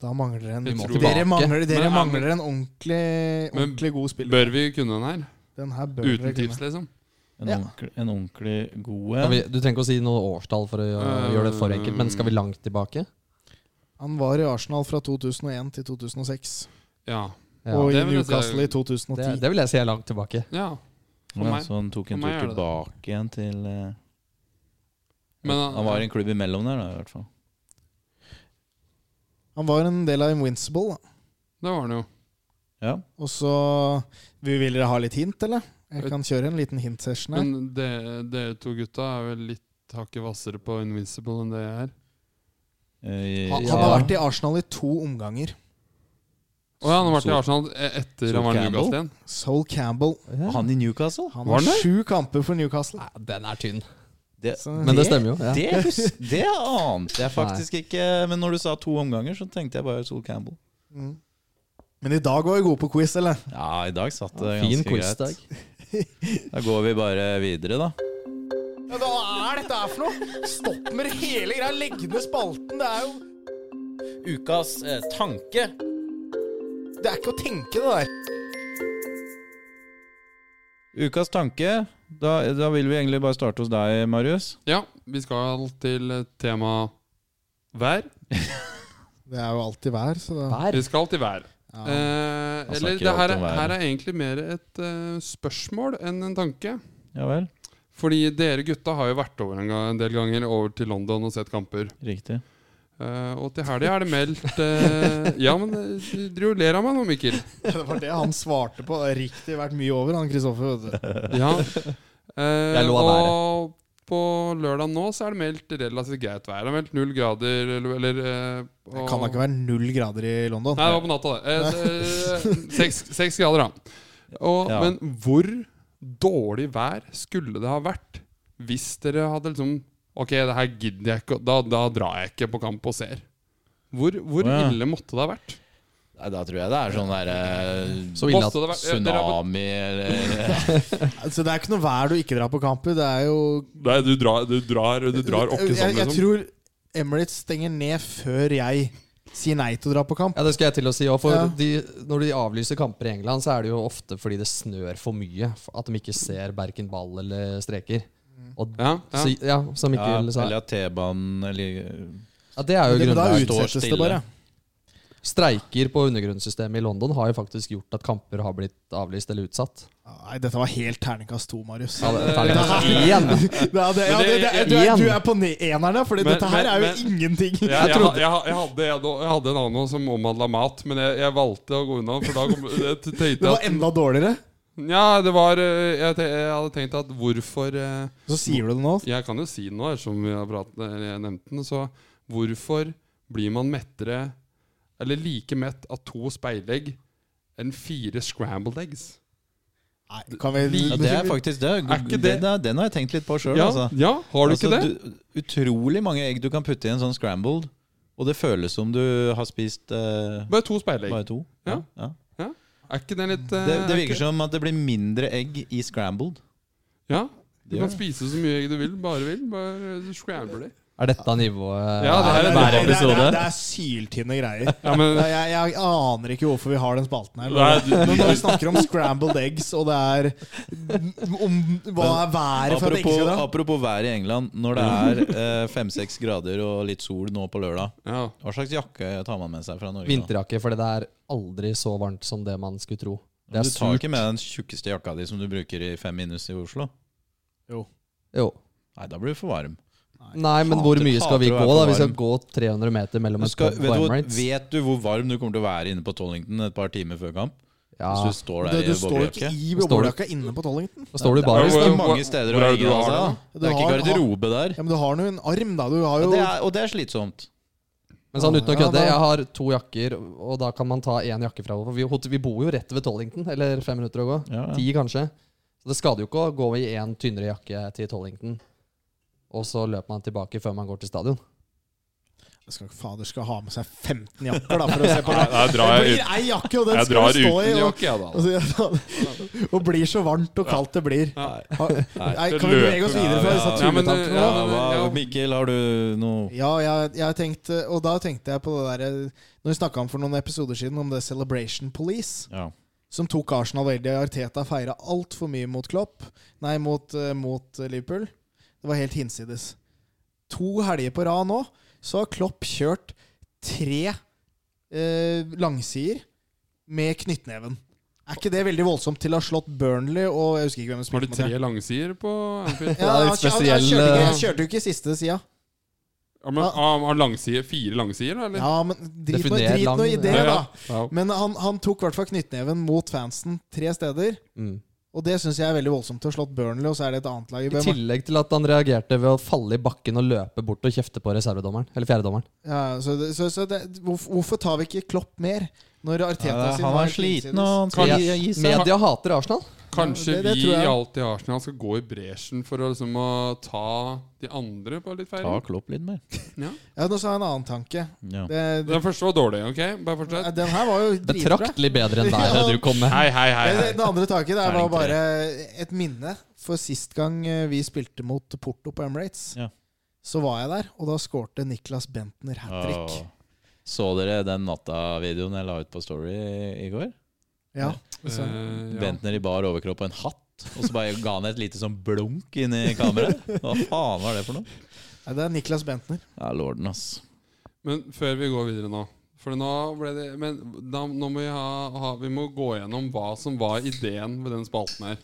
[SPEAKER 3] Da mangler det en
[SPEAKER 1] Vi må
[SPEAKER 3] Dere
[SPEAKER 2] tilbake.
[SPEAKER 3] mangler, dere
[SPEAKER 1] Men-
[SPEAKER 3] mangler en ordentlig,
[SPEAKER 1] Men
[SPEAKER 3] ordentlig god spiller.
[SPEAKER 1] Bør vi kunne den her?
[SPEAKER 3] Den her bør dere
[SPEAKER 1] Uten
[SPEAKER 3] kunne.
[SPEAKER 1] tips, liksom?
[SPEAKER 4] En,
[SPEAKER 3] Ja.
[SPEAKER 4] ordentlig, en ordentlig god
[SPEAKER 2] Skal
[SPEAKER 4] en.
[SPEAKER 2] vi, du trenger ikke å si noe årstall for å
[SPEAKER 4] Eh,
[SPEAKER 2] gjøre, gjøre det for enkelt, men skal vi langt tilbake?
[SPEAKER 3] Han var i Arsenal fra 2001 til 2006.
[SPEAKER 1] Ja.
[SPEAKER 2] Ja.
[SPEAKER 3] og i
[SPEAKER 1] det vil jeg si er-
[SPEAKER 3] Newcastle i 2010.
[SPEAKER 2] Det, det vil jeg si er langt tilbake.
[SPEAKER 1] ja. For
[SPEAKER 4] Ja,
[SPEAKER 1] meg.
[SPEAKER 4] så han tok en
[SPEAKER 1] For meg
[SPEAKER 4] tur
[SPEAKER 1] er det det.
[SPEAKER 4] tilbake igjen til eh,
[SPEAKER 1] Men han-
[SPEAKER 4] Han var i en klubb imellom der, da, i hvert fall.
[SPEAKER 3] Han var en del av Invincible. Da.
[SPEAKER 1] Det var den jo.
[SPEAKER 4] Ja.
[SPEAKER 3] Og så vi Vil dere ha litt hint, eller? Jeg kan kjøre en liten hint-session her.
[SPEAKER 1] Men dere dere to gutta er vel litt hakket hvassere på Invincible enn det jeg er.
[SPEAKER 4] Eh,
[SPEAKER 3] Han,
[SPEAKER 4] ja.
[SPEAKER 3] han har vært i Arsenal i to omganger.
[SPEAKER 1] Å ja, han har vært i
[SPEAKER 4] Sol-
[SPEAKER 1] Arsenal e- etter
[SPEAKER 4] Sol
[SPEAKER 1] han var i
[SPEAKER 4] Campbell?
[SPEAKER 1] Newcastle igjen.
[SPEAKER 3] Sol Campbell.
[SPEAKER 4] han i Newcastle?
[SPEAKER 3] Han
[SPEAKER 1] Var
[SPEAKER 3] har
[SPEAKER 1] han der?
[SPEAKER 3] sju kamper for Newcastle.
[SPEAKER 2] Nei, den er tynn.
[SPEAKER 4] Det,
[SPEAKER 3] Så-
[SPEAKER 2] Men det stemmer jo. Ja.
[SPEAKER 4] Det, hus- det ante jeg faktisk ikke. Men når du sa to omganger, så tenkte jeg bare Sol Campbell.
[SPEAKER 3] Mm. Men i dag var vi gode på quiz, eller?
[SPEAKER 4] Ja, i dag satt det
[SPEAKER 2] Fin
[SPEAKER 4] ganske greit.
[SPEAKER 2] quizdag.
[SPEAKER 4] Da går vi bare videre, da.
[SPEAKER 3] Ja, hva er dette her for noe? Stopp med hele greia. Legg ned spalten. Det er jo
[SPEAKER 7] Ukas eh, tanke.
[SPEAKER 3] Det er ikke å tenke, det der.
[SPEAKER 4] Ukas tanke. Da, da vil vi egentlig bare starte hos deg, Marius.
[SPEAKER 1] Ja, vi skal til tema vær.
[SPEAKER 3] Det er jo alltid vær, så da
[SPEAKER 2] Vær.
[SPEAKER 1] Vi skal til vær. Eh,
[SPEAKER 4] Han
[SPEAKER 1] eller
[SPEAKER 4] snakker
[SPEAKER 1] det her,
[SPEAKER 4] alt om
[SPEAKER 1] er-
[SPEAKER 4] været.
[SPEAKER 1] her er egentlig mer et eh, spørsmål enn en tanke.
[SPEAKER 4] Ja vel.
[SPEAKER 1] Fordi dere gutta har jo vært over en, gang, en del ganger over til London og sett kamper.
[SPEAKER 4] Riktig.
[SPEAKER 1] Eh, og til helga er det meldt eh, Ja, men eh, du driver og ler av meg nå, Mikkel.
[SPEAKER 3] Det var det han svarte på. Det har Riktig vært mye over, han Kristoffer. vet du.
[SPEAKER 1] Ja. Eh,
[SPEAKER 2] Jeg lo av
[SPEAKER 1] og på lørdag nå så er det meldt relativt greit vær. Det er meldt null grader eller, eller eh,
[SPEAKER 3] Det
[SPEAKER 1] og-
[SPEAKER 3] kan da ikke være sånn. null grader i London.
[SPEAKER 1] Nei, det var på natta, det. Eh, det- Seks seks grader, da. Og,
[SPEAKER 4] Ja.
[SPEAKER 1] Men hvor dårlig vær skulle det ha vært hvis dere hadde liksom Ok, det her gidder jeg ikke, og da, da drar jeg ikke på kamp og ser. Hvor, hvor
[SPEAKER 4] Å, ja.
[SPEAKER 1] ille måtte det ha vært?
[SPEAKER 4] Nei, da tror jeg det er sånn der
[SPEAKER 2] Så ille at
[SPEAKER 1] Måtte det vært- eh, dere har-
[SPEAKER 4] tsunami eller
[SPEAKER 3] Altså, det er ikke noe vær du ikke drar på kamp i. Det er jo
[SPEAKER 1] Nei, du drar, du drar, du drar åkke
[SPEAKER 3] jeg,
[SPEAKER 1] sånn,
[SPEAKER 3] jeg
[SPEAKER 1] liksom.
[SPEAKER 3] tror Emirates stenger ned før jeg sier nei til å dra på kamp.
[SPEAKER 2] Ja, det skal jeg til å si. Og for
[SPEAKER 3] Ja.
[SPEAKER 2] de, når de avlyser kamper i England, så er det jo ofte fordi det snør for mye. for At de ikke ser verken ball eller streker. Og,
[SPEAKER 1] Ja, ja.
[SPEAKER 2] Så, ja, som
[SPEAKER 4] Ja,
[SPEAKER 2] Mikkel sa.
[SPEAKER 4] Eller at T-banen eller
[SPEAKER 2] Ja, det er jo
[SPEAKER 3] Men da
[SPEAKER 2] grunnen.
[SPEAKER 4] står
[SPEAKER 3] utsettes det
[SPEAKER 4] stille.
[SPEAKER 3] bare.
[SPEAKER 2] Streiker på undergrunnssystemet i London har jo faktisk gjort at kamper har blitt avlyst eller utsatt.
[SPEAKER 3] Nei, dette var helt terningkast to, Marius.
[SPEAKER 2] Ja,
[SPEAKER 3] Ja, det,
[SPEAKER 2] det, sånn terningkast én.
[SPEAKER 3] ja, det,
[SPEAKER 1] Men det-
[SPEAKER 3] det, det, du, er,
[SPEAKER 2] igjen.
[SPEAKER 3] du er på ne- enerne, for
[SPEAKER 1] Men-
[SPEAKER 3] dette her
[SPEAKER 1] men-
[SPEAKER 3] er jo
[SPEAKER 1] men-
[SPEAKER 3] ingenting.
[SPEAKER 1] Jeg, jeg, jeg, jeg, hadde, jeg, hadde- jeg hadde en annen som omhandla mat, men jeg, jeg valgte å gå unna. For da kom, jeg tenkte
[SPEAKER 3] Det var
[SPEAKER 1] at
[SPEAKER 3] enda dårligere.
[SPEAKER 1] Nja, det var eh, jeg, te- jeg hadde tenkt at hvorfor eh,
[SPEAKER 3] Så sier du det nå.
[SPEAKER 1] Jeg kan jo si det nå, som vi har pratet, eller jeg nevnte den. Så hvorfor blir man mettere, eller like mett, av to speilegg enn fire scrambled eggs?
[SPEAKER 3] Nei, kan vi
[SPEAKER 4] Ja, det er faktisk det.
[SPEAKER 1] Er ikke det-
[SPEAKER 4] Den, den har jeg tenkt litt på sjøl.
[SPEAKER 1] Ja,
[SPEAKER 4] altså.
[SPEAKER 1] ja, har du
[SPEAKER 4] Altså,
[SPEAKER 1] ikke det?
[SPEAKER 4] du- utrolig mange egg du kan putte i en sånn scrambled, og det føles som du har spist eh,
[SPEAKER 1] Bare to speilegg.
[SPEAKER 4] bare to.
[SPEAKER 1] Ja.
[SPEAKER 4] Ja.
[SPEAKER 1] Er ikke det litt eh,
[SPEAKER 4] Det, det
[SPEAKER 1] er
[SPEAKER 4] virker
[SPEAKER 1] ikke-
[SPEAKER 4] som at det blir mindre egg i scrambled.
[SPEAKER 1] Ja. Du
[SPEAKER 4] Det
[SPEAKER 1] kan
[SPEAKER 4] gjør
[SPEAKER 1] spise så mye egg du vil, bare vil. Bare eh, scramble de.
[SPEAKER 2] Er dette nivået
[SPEAKER 1] Ja, det her er
[SPEAKER 3] det,
[SPEAKER 1] hver
[SPEAKER 3] er- det,
[SPEAKER 4] episode.
[SPEAKER 3] er- det er syltynne greier.
[SPEAKER 1] Ja, men
[SPEAKER 3] Jeg, jeg, jeg aner ikke hvorfor vi har den spalten her.
[SPEAKER 1] Nei, du-
[SPEAKER 3] Men når vi snakker om scrambled eggs, og det er om, Hva er været for at det ikke
[SPEAKER 4] Apropos,
[SPEAKER 3] skal dra?
[SPEAKER 4] apropos været i England. Når det er fem-seks grader og litt sol nå på lørdag,
[SPEAKER 1] ja.
[SPEAKER 4] hva slags jakke tar man med seg fra Norge? da?
[SPEAKER 2] vinterjakke, fordi det er aldri så varmt som det man skulle tro. Det er
[SPEAKER 4] Du tar
[SPEAKER 2] surt.
[SPEAKER 4] ikke med den tjukkeste jakka di som du bruker i fem minus i Oslo?
[SPEAKER 2] Jo.
[SPEAKER 4] Nei, da blir du for varm.
[SPEAKER 2] Nei, men hvor
[SPEAKER 4] hater-
[SPEAKER 2] mye skal vi
[SPEAKER 4] hater å
[SPEAKER 2] gå,
[SPEAKER 4] være
[SPEAKER 2] da?
[SPEAKER 4] for
[SPEAKER 2] Vi skal
[SPEAKER 4] varm.
[SPEAKER 2] gå 300 meter mellom
[SPEAKER 4] Du
[SPEAKER 2] et
[SPEAKER 4] skal,
[SPEAKER 2] pub på
[SPEAKER 4] vet, du, hvor-
[SPEAKER 2] Emirates.
[SPEAKER 4] vet du hvor varm du kommer til å være inne på Tollington et par timer før kamp?
[SPEAKER 2] Ja.
[SPEAKER 4] Hvis du står
[SPEAKER 3] Det,
[SPEAKER 4] der
[SPEAKER 3] du
[SPEAKER 4] i
[SPEAKER 3] står ikke
[SPEAKER 4] boblejakke?
[SPEAKER 3] i
[SPEAKER 2] Står du-
[SPEAKER 3] boblejakka inne på Tollington.
[SPEAKER 2] Da står du
[SPEAKER 4] Det
[SPEAKER 2] bare
[SPEAKER 4] er
[SPEAKER 1] Hvor- hvor-
[SPEAKER 4] ikke mange steder
[SPEAKER 1] hvor
[SPEAKER 4] å
[SPEAKER 1] er det
[SPEAKER 4] legge
[SPEAKER 1] du
[SPEAKER 4] av
[SPEAKER 1] har det,
[SPEAKER 4] seg. da. Det er ikke
[SPEAKER 3] har-
[SPEAKER 4] garderobe der.
[SPEAKER 3] Ja, men du har nå en arm, da. Du har
[SPEAKER 4] Ja,
[SPEAKER 3] jo
[SPEAKER 4] det er, og det er slitsomt.
[SPEAKER 2] Men sånn uten å
[SPEAKER 3] Ja,
[SPEAKER 2] kødde,
[SPEAKER 3] da-
[SPEAKER 2] jeg har to jakker, og da kan man ta én jakke fra hverandre. Vi, hot- vi bor jo rett ved Tollington, eller fem minutter å gå.
[SPEAKER 4] Ja, ja.
[SPEAKER 2] Ti, kanskje. Så det skader jo ikke å gå i én tynnere jakke til Tollington, og så løper man tilbake før man går til stadion.
[SPEAKER 3] Jeg skal, Fader skal ha med seg 15 jakker, da, for å se på det.
[SPEAKER 1] Jeg
[SPEAKER 3] Det
[SPEAKER 1] drar,
[SPEAKER 3] blir
[SPEAKER 1] ut,
[SPEAKER 3] ei jakke, og den
[SPEAKER 1] jeg
[SPEAKER 3] skal
[SPEAKER 1] drar
[SPEAKER 3] du stå i.
[SPEAKER 1] uten
[SPEAKER 3] Og,
[SPEAKER 1] jakke, jeg, da.
[SPEAKER 3] og, så- og blir så varmt og kaldt det blir.
[SPEAKER 1] Ja.
[SPEAKER 3] Ha- Nei,
[SPEAKER 1] det
[SPEAKER 3] kan vi bevege oss
[SPEAKER 1] løper.
[SPEAKER 3] videre fra disse
[SPEAKER 1] Ja, men,
[SPEAKER 3] tulletankene?
[SPEAKER 1] ja,
[SPEAKER 3] nå?
[SPEAKER 4] Ja, hva,
[SPEAKER 1] ja.
[SPEAKER 4] Mikkel, har du noe
[SPEAKER 3] Ja, jeg, jeg tenkte, og da tenkte jeg på det derre Når vi snakka om for noen episoder siden om det Celebration Police,
[SPEAKER 4] ja.
[SPEAKER 3] som tok Arsenal veldig og Arteta feira altfor mye mot Klopp Nei, mot, eh, mot Liverpool. Det var helt hinsides. To helger på rad nå så har Klopp kjørt tre eh, langsider med knyttneven. Er ikke det veldig voldsomt til å ha slått Burnley og jeg husker ikke hvem som
[SPEAKER 1] Har de
[SPEAKER 3] spilte mot
[SPEAKER 1] tre langsider på Anfield?
[SPEAKER 3] Ja,
[SPEAKER 2] Det er
[SPEAKER 3] han,
[SPEAKER 2] litt
[SPEAKER 3] han, han kjørte ikke,
[SPEAKER 2] spesiell, eh,
[SPEAKER 3] han kjørte jo ikke siste sida.
[SPEAKER 1] Ja, men, ah, har langsider, fire langsider, da, eller?
[SPEAKER 3] Ja, men drit nå-
[SPEAKER 2] Definer
[SPEAKER 3] drit
[SPEAKER 2] lang-
[SPEAKER 3] nå i det,
[SPEAKER 1] Ja, ja.
[SPEAKER 3] da.
[SPEAKER 1] Ja.
[SPEAKER 3] Men han, han tok i hvert fall knyttneven mot fansen tre steder.
[SPEAKER 2] Mm.
[SPEAKER 3] Og det syns jeg er veldig voldsomt. Til å ha slått Burnley, og så er det et annet lag i
[SPEAKER 2] I
[SPEAKER 3] BM.
[SPEAKER 2] tillegg til at han reagerte ved å falle i bakken og løpe bort og kjefte på reservedommeren. Eller fjerdedommeren.
[SPEAKER 3] Ja, så det, så, så det, hvorf- hvorfor tar vi ikke Klopp mer? Når Arteta sin
[SPEAKER 4] Han
[SPEAKER 3] var
[SPEAKER 4] er
[SPEAKER 3] helt
[SPEAKER 4] sliten,
[SPEAKER 3] innsides?
[SPEAKER 4] og han skal gi, gi
[SPEAKER 2] Jeg-
[SPEAKER 4] seg.
[SPEAKER 2] Media hater Arsenal.
[SPEAKER 1] Kanskje
[SPEAKER 3] Ja, det- det
[SPEAKER 1] vi
[SPEAKER 3] tror jeg.
[SPEAKER 1] i alt i Arsenal skal gå i bresjen for å liksom å ta de andre på litt
[SPEAKER 4] Ta
[SPEAKER 1] feiring?
[SPEAKER 4] Klopp litt mer.
[SPEAKER 3] Ja, Nå sa jeg en annen tanke.
[SPEAKER 4] Ja.
[SPEAKER 3] Det,
[SPEAKER 1] Den første var dårlig, OK? Bare fortsett.
[SPEAKER 3] den her var jo
[SPEAKER 2] Det er
[SPEAKER 3] dritbra.
[SPEAKER 2] traktelig bedre enn der du kom med.
[SPEAKER 1] Hei, hei, hei.
[SPEAKER 3] Men
[SPEAKER 1] hei.
[SPEAKER 3] det- Det andre taket der var
[SPEAKER 4] Terningtre.
[SPEAKER 3] bare et minne. For sist gang eh, vi spilte mot Porto på Emirates,
[SPEAKER 4] Ja.
[SPEAKER 3] så var jeg der, og da skårte Niklas Bentner hat trick.
[SPEAKER 4] Åh. Så dere den natta-videoen jeg la ut på Story i går?
[SPEAKER 3] Ja. Så.
[SPEAKER 1] Eh, ja.
[SPEAKER 4] Bentner i bar overkropp og en hatt. Og så bare ga han et lite sånn blunk inn i kameraet. Hva faen var det for noe?
[SPEAKER 3] Ja, det er Niklas Bentner.
[SPEAKER 4] Ja, lorden, ass.
[SPEAKER 1] Men før vi går videre nå For nå ble det Men da, nå må vi, ha, ha, vi må gå gjennom hva som var ideen ved den spalten her.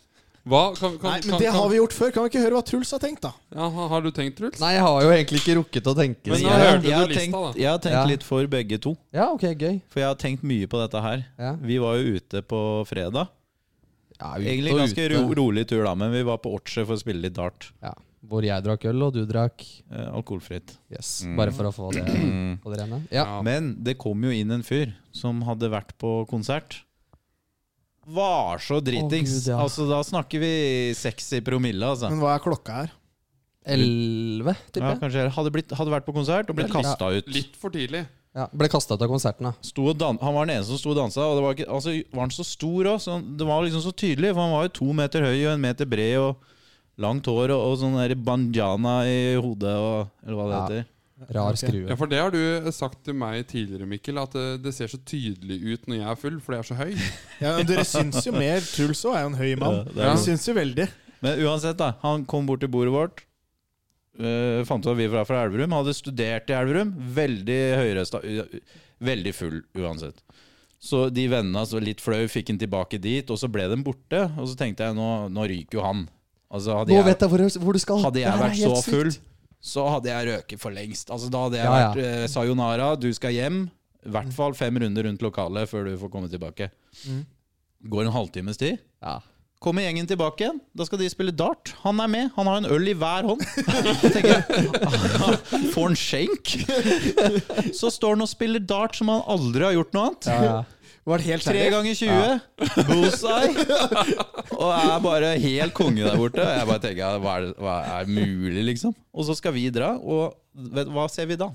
[SPEAKER 1] Hva kan, kan,
[SPEAKER 3] Nei,
[SPEAKER 1] kan,
[SPEAKER 3] men Det
[SPEAKER 1] kan,
[SPEAKER 3] har vi gjort før. Kan vi ikke høre hva Truls har tenkt, da?
[SPEAKER 1] ja, ha- Har du tenkt, Truls?
[SPEAKER 2] Nei, jeg har jo egentlig ikke rukket å tenke.
[SPEAKER 1] Men
[SPEAKER 2] så-
[SPEAKER 1] nå
[SPEAKER 4] jeg,
[SPEAKER 1] hørte du
[SPEAKER 4] jeg har
[SPEAKER 1] lista,
[SPEAKER 4] tenkt,
[SPEAKER 1] da.
[SPEAKER 4] jeg har tenkt
[SPEAKER 2] Ja.
[SPEAKER 4] litt for begge to.
[SPEAKER 2] Ja, ok, gøy.
[SPEAKER 4] For jeg har tenkt mye på dette her.
[SPEAKER 2] Ja.
[SPEAKER 4] Vi var jo ute på fredag.
[SPEAKER 2] Ja, ute
[SPEAKER 4] Egentlig
[SPEAKER 2] og
[SPEAKER 4] ganske
[SPEAKER 2] ute.
[SPEAKER 4] ro, rolig tur, da, men vi var på Orche for å spille litt dart.
[SPEAKER 2] Ja, hvor jeg drakk øl, og du drakk
[SPEAKER 4] Eh, alkoholfritt.
[SPEAKER 2] Yes. Bare for å få det på det rene. Ja.
[SPEAKER 1] Ja.
[SPEAKER 4] Men det kom jo inn en fyr som hadde vært på konsert. Var så dritings!
[SPEAKER 2] Å, Gud, ja. Mm,
[SPEAKER 4] Altså, da snakker vi 60 promille, altså.
[SPEAKER 3] Men hva er klokka her?
[SPEAKER 2] 11,
[SPEAKER 4] Ja,
[SPEAKER 2] tipper jeg.
[SPEAKER 4] kanskje hadde, blitt, hadde vært på konsert og blitt
[SPEAKER 2] Det er litt-
[SPEAKER 4] kasta ut.
[SPEAKER 1] Litt for tidlig.
[SPEAKER 2] Ja, ble kasta ut av konserten, da.
[SPEAKER 4] Sto og dan han var den eneste som sto og dansa. Og det var, ikke, altså, var han så stor òg? Så han- det var liksom så tydelig. For han var jo to meter høy og en meter bred og langt hår og, og sånn der banjana i hodet og Eller hva det
[SPEAKER 2] Ja.
[SPEAKER 4] heter.
[SPEAKER 2] Rar
[SPEAKER 1] Ja,
[SPEAKER 2] skrue.
[SPEAKER 1] For det har du sagt til meg tidligere, Mikkel, at det, det ser så tydelig ut når jeg er full, fordi jeg er så høy.
[SPEAKER 3] Ja, men dere syns jo mer. Truls òg er jo en høy mann.
[SPEAKER 4] Ja, det er liksom
[SPEAKER 3] Dere
[SPEAKER 1] det.
[SPEAKER 3] syns jo veldig.
[SPEAKER 4] Men uansett, da. Han kom bort til bordet vårt. eh, fant ut at vi var fra Elverum. Hadde studert i Elverum. Veldig høyrøsta. u- u- Veldig full uansett. Så de vennene hans var litt flau, fikk han tilbake dit, og så ble de borte. Og så tenkte jeg nå, nå ryker jo han. Altså, hadde
[SPEAKER 2] Nå
[SPEAKER 4] jeg,
[SPEAKER 2] vet jeg hvor, hvor du skal.
[SPEAKER 4] hadde
[SPEAKER 2] Det
[SPEAKER 4] jeg
[SPEAKER 2] her er
[SPEAKER 4] vært
[SPEAKER 2] helt
[SPEAKER 4] så
[SPEAKER 2] sykt.
[SPEAKER 4] full, så hadde jeg røket for lengst. Altså, da hadde jeg
[SPEAKER 2] Ja, ja.
[SPEAKER 4] vært eh, sayonara, du skal hjem. I hvert
[SPEAKER 2] Mm.
[SPEAKER 4] fall fem runder rundt lokalet før du får komme tilbake. Går en halvtimes tid.
[SPEAKER 2] Ja.
[SPEAKER 4] Kommer gjengen tilbake igjen, da skal de spille dart. Han er med, han har en øl i hver hånd. Jeg tenker, Får han skjenk? Så står han og spiller dart som han aldri har gjort noe annet.
[SPEAKER 6] Var det helt
[SPEAKER 4] Tre
[SPEAKER 6] seriøst?
[SPEAKER 4] ganger 20, bullseye, og er bare helt konge der borte. Og jeg bare tenker, hva er, det- hva er mulig, liksom? Og så skal vi dra, og vet, hva ser vi da?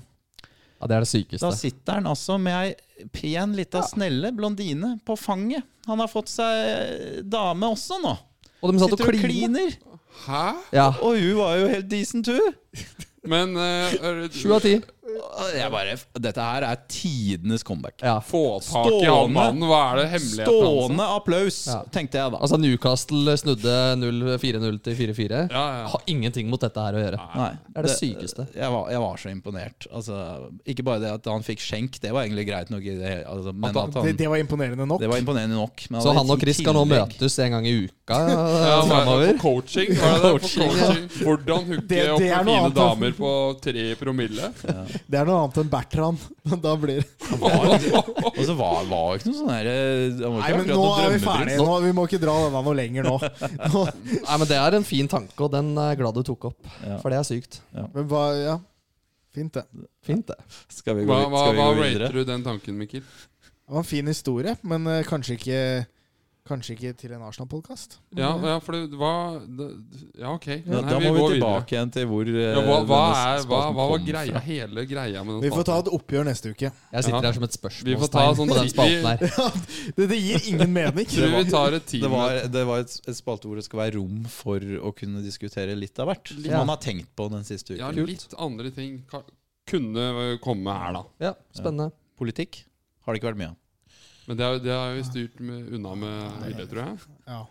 [SPEAKER 2] Ja, det er det sykeste.
[SPEAKER 4] Da sitter han altså med ei pen, lita snelle blondine på fanget. Han har fått seg dame også nå.
[SPEAKER 2] Og de satt og
[SPEAKER 4] Sitter og
[SPEAKER 2] klina.
[SPEAKER 4] kliner.
[SPEAKER 1] Hæ?
[SPEAKER 2] Ja.
[SPEAKER 4] Og hun var jo helt decent, hun.
[SPEAKER 1] Men eh, er det-
[SPEAKER 2] Sju av ti.
[SPEAKER 4] Og Jeg bare, Dette her er tidenes comeback.
[SPEAKER 2] Ja.
[SPEAKER 1] Få tak i han
[SPEAKER 4] Stående.
[SPEAKER 1] mannen. Hva er det altså? hemmeligheten hans?
[SPEAKER 4] Stående applaus,
[SPEAKER 2] Ja.
[SPEAKER 4] tenkte jeg da.
[SPEAKER 2] Altså, Newcastle snudde 0 4-0 til 4-4.
[SPEAKER 1] Ja, ja.
[SPEAKER 2] Har ingenting mot dette her å gjøre.
[SPEAKER 4] Nei,
[SPEAKER 2] Det er det sykeste.
[SPEAKER 4] Jeg var, jeg var så imponert. Altså, ikke bare det at han fikk skjenk, det var egentlig greit nok. I det, hele- altså, men at
[SPEAKER 3] Det,
[SPEAKER 4] han,
[SPEAKER 3] det var imponerende nok.
[SPEAKER 4] det var imponerende nok. men
[SPEAKER 2] Så
[SPEAKER 4] at
[SPEAKER 2] han og
[SPEAKER 4] i
[SPEAKER 2] Chris skal nå
[SPEAKER 4] tillegg-
[SPEAKER 2] møtes en gang i
[SPEAKER 1] Ja,
[SPEAKER 2] uka eh,
[SPEAKER 1] hva er det
[SPEAKER 2] fremover.
[SPEAKER 1] for coaching? Hva er det for
[SPEAKER 2] Coaching, ja.
[SPEAKER 1] coaching? Hvordan hooke
[SPEAKER 3] Det-
[SPEAKER 1] opp
[SPEAKER 3] det er
[SPEAKER 1] med
[SPEAKER 3] noe
[SPEAKER 1] fine
[SPEAKER 3] annet.
[SPEAKER 1] damer på tre promille?
[SPEAKER 3] Det er noe annet enn Bertrand. Men da blir
[SPEAKER 4] Og så var det jo ikke noe sånn her Han var
[SPEAKER 3] Nei,
[SPEAKER 4] ikke
[SPEAKER 3] men
[SPEAKER 4] akkurat
[SPEAKER 3] nå
[SPEAKER 4] noe
[SPEAKER 3] er vi
[SPEAKER 4] drømmeprins.
[SPEAKER 3] ferdige. Nå, vi må ikke dra denne noe lenger nå. nå
[SPEAKER 2] Nei, men Det er en fin tanke, og den er jeg glad du tok opp.
[SPEAKER 4] Ja.
[SPEAKER 2] For det er sykt.
[SPEAKER 3] men hva Ja. Fint, det.
[SPEAKER 2] Fint, det.
[SPEAKER 4] Skal vi gå,
[SPEAKER 1] Hva,
[SPEAKER 4] vid-
[SPEAKER 1] hva,
[SPEAKER 4] skal vi
[SPEAKER 1] hva
[SPEAKER 4] gå videre?
[SPEAKER 1] rater du den tanken, Mikkel?
[SPEAKER 3] Det var en fin historie, men eh, kanskje ikke Kanskje ikke til en Arsenal-podkast.
[SPEAKER 1] Ja,
[SPEAKER 4] Mm.
[SPEAKER 1] ja for det var det- Ja, ok.
[SPEAKER 4] Da,
[SPEAKER 1] Men her,
[SPEAKER 4] da må vi
[SPEAKER 1] gå videre.
[SPEAKER 4] tilbake igjen til hvor eh,
[SPEAKER 1] Ja, hva, hva,
[SPEAKER 4] denne
[SPEAKER 1] er, hva,
[SPEAKER 4] spalten
[SPEAKER 1] hva var
[SPEAKER 4] kom
[SPEAKER 1] greia,
[SPEAKER 4] fra.
[SPEAKER 1] hele greia med den
[SPEAKER 3] Vi får ta
[SPEAKER 1] spalten?
[SPEAKER 3] et oppgjør neste uke.
[SPEAKER 2] Jeg sitter
[SPEAKER 1] Ja.
[SPEAKER 2] her som et
[SPEAKER 1] Vi får ta
[SPEAKER 2] spørsmålstegn
[SPEAKER 1] sånn-
[SPEAKER 2] på den spalten
[SPEAKER 1] vi-
[SPEAKER 2] her.
[SPEAKER 3] Det, det gir ingen mening.
[SPEAKER 1] Tror vi tar et
[SPEAKER 4] Det
[SPEAKER 1] team
[SPEAKER 4] var, det var et, et spalte hvor det skal være rom for å kunne diskutere litt av hvert. Som
[SPEAKER 2] Ja.
[SPEAKER 4] man har tenkt på den siste
[SPEAKER 1] Ja,
[SPEAKER 4] uken.
[SPEAKER 1] litt andre ting ka- kunne komme her, da.
[SPEAKER 2] Ja, spennende.
[SPEAKER 4] Politikk har det ikke vært mye av.
[SPEAKER 1] Men det er- det har vi styrt med, unna med vilje, tror jeg.
[SPEAKER 3] Ja.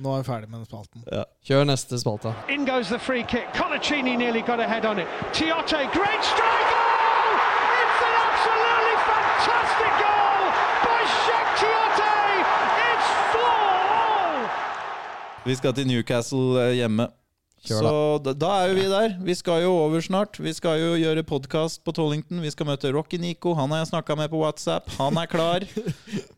[SPEAKER 3] Nå er vi ferdig med den spalten.
[SPEAKER 2] Kjør neste spalte.
[SPEAKER 8] In goes the free kick. Colaccini nearly got a head on it. Tiote, great strike! goal! It's an absolutely fantastic goal by Shaq Tiote! It's 4 all!
[SPEAKER 4] Vi skal til Newcastle eh, hjemme.
[SPEAKER 2] Kjør
[SPEAKER 4] så da, da er jo vi der. Vi skal jo over snart. Vi skal jo gjøre podkast på Tollington. Vi skal møte Rocky Nico. Han har jeg snakka med på WhatsApp. Han er klar.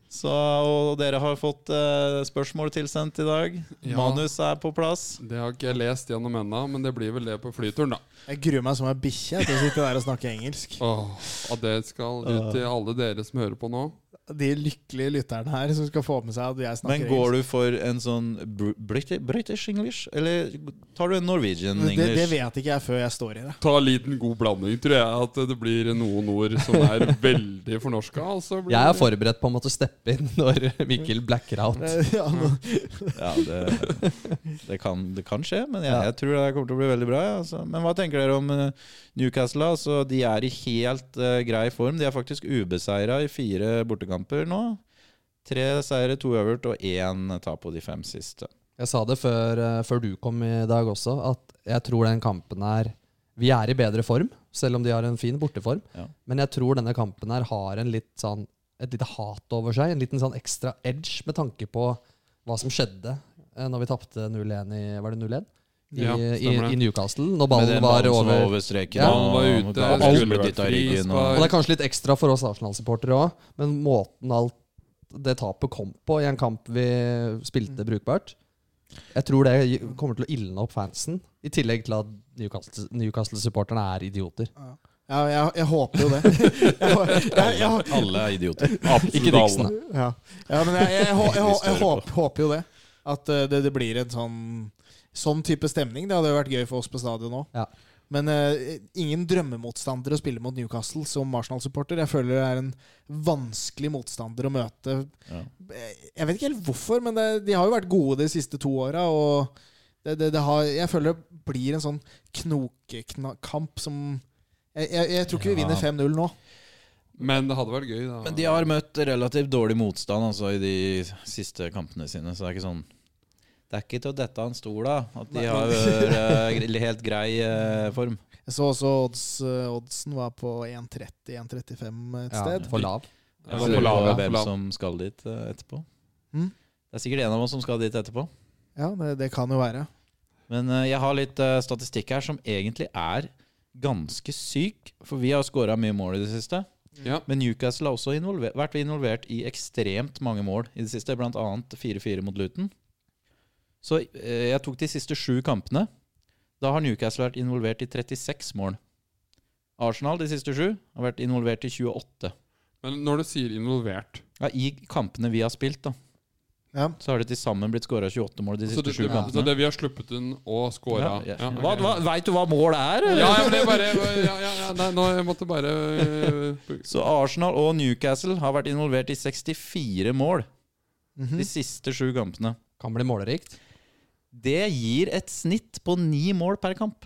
[SPEAKER 4] Så, og dere har fått eh, spørsmål tilsendt i dag.
[SPEAKER 1] Ja.
[SPEAKER 4] Manus er på plass.
[SPEAKER 1] Det har ikke jeg lest gjennom ennå, men det blir vel det på flyturen, da.
[SPEAKER 3] Jeg gruer meg som ei bikkje til å sitte der og snakke engelsk.
[SPEAKER 1] Åh, at det skal ut til alle dere som hører på nå.
[SPEAKER 3] De lykkelige lytterne her som skal få med seg at jeg
[SPEAKER 4] Men
[SPEAKER 3] snakker
[SPEAKER 4] går du for en sånn br- Briti- British English, eller tar du en Norwegian
[SPEAKER 3] engelsk. Det, det
[SPEAKER 4] English?
[SPEAKER 3] vet ikke jeg før jeg står i det.
[SPEAKER 1] Ta en liten god blanding, tror jeg. At det blir noen ord som er veldig fornorska. og så blir
[SPEAKER 2] Jeg er
[SPEAKER 1] det-
[SPEAKER 2] forberedt på å måtte steppe inn når Mikkel blacker out.
[SPEAKER 3] Ja, nå,
[SPEAKER 4] Ja, det, det, kan, det kan skje, men jeg, jeg tror det kommer til å bli veldig bra. Ja, altså. Men hva tenker dere om eh, Newcastle? da? Altså, de er i helt eh, grei form. De er faktisk ubeseira i fire bortekamper nå. Tre seire, to øvert og én tap på de fem siste.
[SPEAKER 2] Jeg sa det før, eh, før du kom i dag også, at jeg tror den kampen her Vi er i bedre form, selv om de har en fin borteform.
[SPEAKER 4] Ja.
[SPEAKER 2] Men jeg tror denne kampen her har en litt sånn, et lite hat over seg. En liten sånn ekstra edge med tanke på hva som skjedde eh, når vi tapte 0-1 i Var det 0-1? I,
[SPEAKER 1] Ja,
[SPEAKER 2] i,
[SPEAKER 1] stemmer det.
[SPEAKER 2] I Newcastle, når
[SPEAKER 4] Men
[SPEAKER 2] ballen
[SPEAKER 4] den
[SPEAKER 2] var
[SPEAKER 4] ballen som
[SPEAKER 2] over.
[SPEAKER 4] over streken.
[SPEAKER 2] Ja.
[SPEAKER 4] og-
[SPEAKER 1] Ballen var ute,
[SPEAKER 4] og-
[SPEAKER 1] skulle
[SPEAKER 4] skulle
[SPEAKER 1] vært
[SPEAKER 4] dytta i ryggen,
[SPEAKER 2] Og
[SPEAKER 4] og-
[SPEAKER 2] det er kanskje litt ekstra for oss Arsenal-supportere òg, men måten alt det tapet kom på i en kamp vi spilte brukbart Jeg tror det gi- kommer til å ildne opp fansen, i tillegg til at Newcastle- Newcastle-supporterne er idioter.
[SPEAKER 3] ja, jeg, jeg håper jo det. Jeg, jeg, jeg,
[SPEAKER 4] Alle er idioter.
[SPEAKER 2] Ikke Dixon, da.
[SPEAKER 3] Ja, ja men jeg, jeg, hå- jeg, hå- jeg,
[SPEAKER 4] Vi står
[SPEAKER 3] håper, håper jo det. At eh, det, det blir en sånn sånn type stemning. Det hadde jo vært gøy for oss på stadion nå
[SPEAKER 2] Ja.
[SPEAKER 3] Men eh, ingen drømmemotstander å spille mot Newcastle som Arsenal-supporter. Jeg føler det er en vanskelig motstander å møte. Eh,
[SPEAKER 4] Ja.
[SPEAKER 3] Jeg vet ikke helt hvorfor, men det, de har jo vært gode de siste to åra. Og det, det, det har, jeg føler det blir en sånn knokekamp som jeg, jeg, jeg tror ikke vi
[SPEAKER 4] Ja.
[SPEAKER 3] vinner 5-0 nå.
[SPEAKER 1] Men det hadde vært gøy, da.
[SPEAKER 4] Men de har møtt relativt dårlig motstand altså, i de siste kampene sine, så det er ikke sånn det er ikke til å dette av en stol av at de har eh, gre- helt grei eh, form.
[SPEAKER 3] Jeg så også odds, eh, oddsen var på 1,30-1,35 et
[SPEAKER 2] Ja,
[SPEAKER 3] sted.
[SPEAKER 2] for lav.
[SPEAKER 1] Ja,
[SPEAKER 4] Jeg
[SPEAKER 1] for
[SPEAKER 4] lurer
[SPEAKER 1] lav,
[SPEAKER 4] på
[SPEAKER 1] ja, for
[SPEAKER 4] hvem
[SPEAKER 1] lav.
[SPEAKER 4] som skal dit eh, etterpå.
[SPEAKER 3] Mm.
[SPEAKER 4] Det er sikkert en av oss som skal dit etterpå.
[SPEAKER 3] Ja, det, det kan jo være.
[SPEAKER 4] Men eh, jeg har litt eh, statistikk her som egentlig er ganske syk, for vi har skåra mye mål i det siste.
[SPEAKER 1] Ja.
[SPEAKER 4] Men Newcastle har også involver vært involvert i ekstremt mange mål i det siste, blant annet 4-4 mot Luton. Så eh, jeg tok de siste sju kampene. Da har Newcastle vært involvert i 36 mål. Arsenal de siste sju har vært involvert i 28.
[SPEAKER 1] Men når du sier involvert
[SPEAKER 4] Ja, I kampene vi har spilt, da.
[SPEAKER 3] Ja.
[SPEAKER 4] Så har det til sammen blitt skåra 28 mål de
[SPEAKER 1] så
[SPEAKER 4] siste
[SPEAKER 1] det,
[SPEAKER 4] sju
[SPEAKER 1] det, så
[SPEAKER 4] kampene.
[SPEAKER 1] det vi har sluppet inn og
[SPEAKER 4] Ja,
[SPEAKER 1] scora
[SPEAKER 4] ja. Hva, hva, Veit du hva mål er? eller?
[SPEAKER 1] Ja, ja, men det er bare ja, ja, ja, Nei, nå jeg måtte bare øh,
[SPEAKER 4] Så Arsenal og Newcastle har vært involvert i 64 mål
[SPEAKER 3] Mhm.
[SPEAKER 4] de siste sju kampene.
[SPEAKER 2] Kan bli målerikt.
[SPEAKER 4] Det gir et snitt på ni mål per kamp.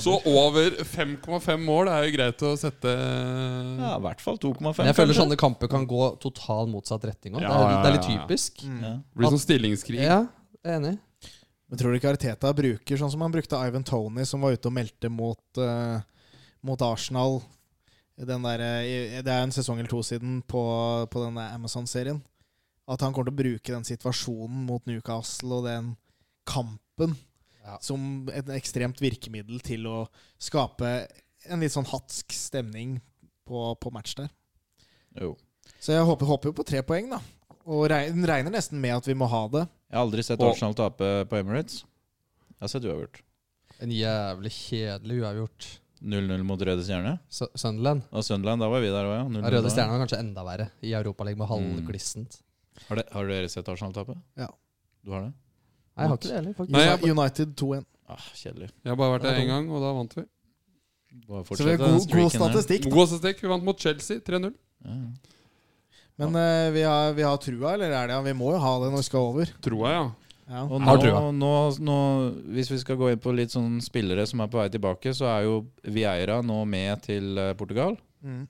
[SPEAKER 1] Så over 5,5 mål er jo greit å sette eh,
[SPEAKER 4] Ja, I hvert fall 2,5.
[SPEAKER 2] Men jeg føler
[SPEAKER 4] kanskje.
[SPEAKER 2] sånne kamper kan gå total motsatt retning òg.
[SPEAKER 1] Ja,
[SPEAKER 2] det, er- det er litt
[SPEAKER 1] ja, ja.
[SPEAKER 2] typisk.
[SPEAKER 4] Ja.
[SPEAKER 1] Blir sånn stillingskrig.
[SPEAKER 2] Ja, jeg er enig.
[SPEAKER 3] Men tror du ikke Arteta bruker sånn som han brukte Ivan Tony, som var ute og meldte mot, eh, mot Arsenal den der, eh, i- Det er en sesong eller to siden på, på den der Amazon-serien. At han kommer til å bruke den situasjonen mot Newcastle og den kampen
[SPEAKER 2] Ja.
[SPEAKER 3] som et ekstremt virkemiddel til å skape en litt sånn hatsk stemning på, på match der.
[SPEAKER 4] Jo.
[SPEAKER 3] Så jeg håper, håper jo på tre poeng, da. Og regner, regner nesten med at vi må ha det.
[SPEAKER 4] Jeg har aldri sett
[SPEAKER 1] Og-
[SPEAKER 4] Arsenal tape på Emirates. Jeg har sett uavgjort.
[SPEAKER 2] En jævlig kjedelig uavgjort.
[SPEAKER 4] 0-0 mot Røde Stjerne.
[SPEAKER 2] Su- Sunderland.
[SPEAKER 4] Og Sunderland, da var vi der òg, ja. 0-0
[SPEAKER 2] Ja, Røde
[SPEAKER 4] da.
[SPEAKER 2] Stjerna var kanskje enda verre i Europaligaen med
[SPEAKER 1] Mm.
[SPEAKER 2] halvglissent.
[SPEAKER 4] Har, det, har dere sett Arsenal tape?
[SPEAKER 3] Ja.
[SPEAKER 4] Du har det?
[SPEAKER 2] Nei, jeg har ikke det heller, faktisk.
[SPEAKER 1] Nei, jeg-
[SPEAKER 3] United 2-1.
[SPEAKER 4] Ah, kjedelig.
[SPEAKER 1] Jeg har bare vært der én gang, og da vant vi.
[SPEAKER 4] Bare
[SPEAKER 3] Så det
[SPEAKER 4] fortsett
[SPEAKER 3] er
[SPEAKER 4] den
[SPEAKER 3] god, god
[SPEAKER 4] streaken der.
[SPEAKER 3] statistikk.
[SPEAKER 1] God statistikk. Vi vant mot Chelsea 3-0.
[SPEAKER 4] Ja.
[SPEAKER 3] Men eh, vi, har, vi har trua, eller er det? Vi må jo ha det når vi skal over.
[SPEAKER 1] Tror jeg, ja.
[SPEAKER 3] Ja.
[SPEAKER 4] Og
[SPEAKER 2] Har
[SPEAKER 4] nå,
[SPEAKER 2] trua.
[SPEAKER 4] nå, nå, hvis vi skal gå inn på litt sånn spillere som er på vei tilbake, så er jo Vieira nå med til eh, Portugal.
[SPEAKER 3] Mm.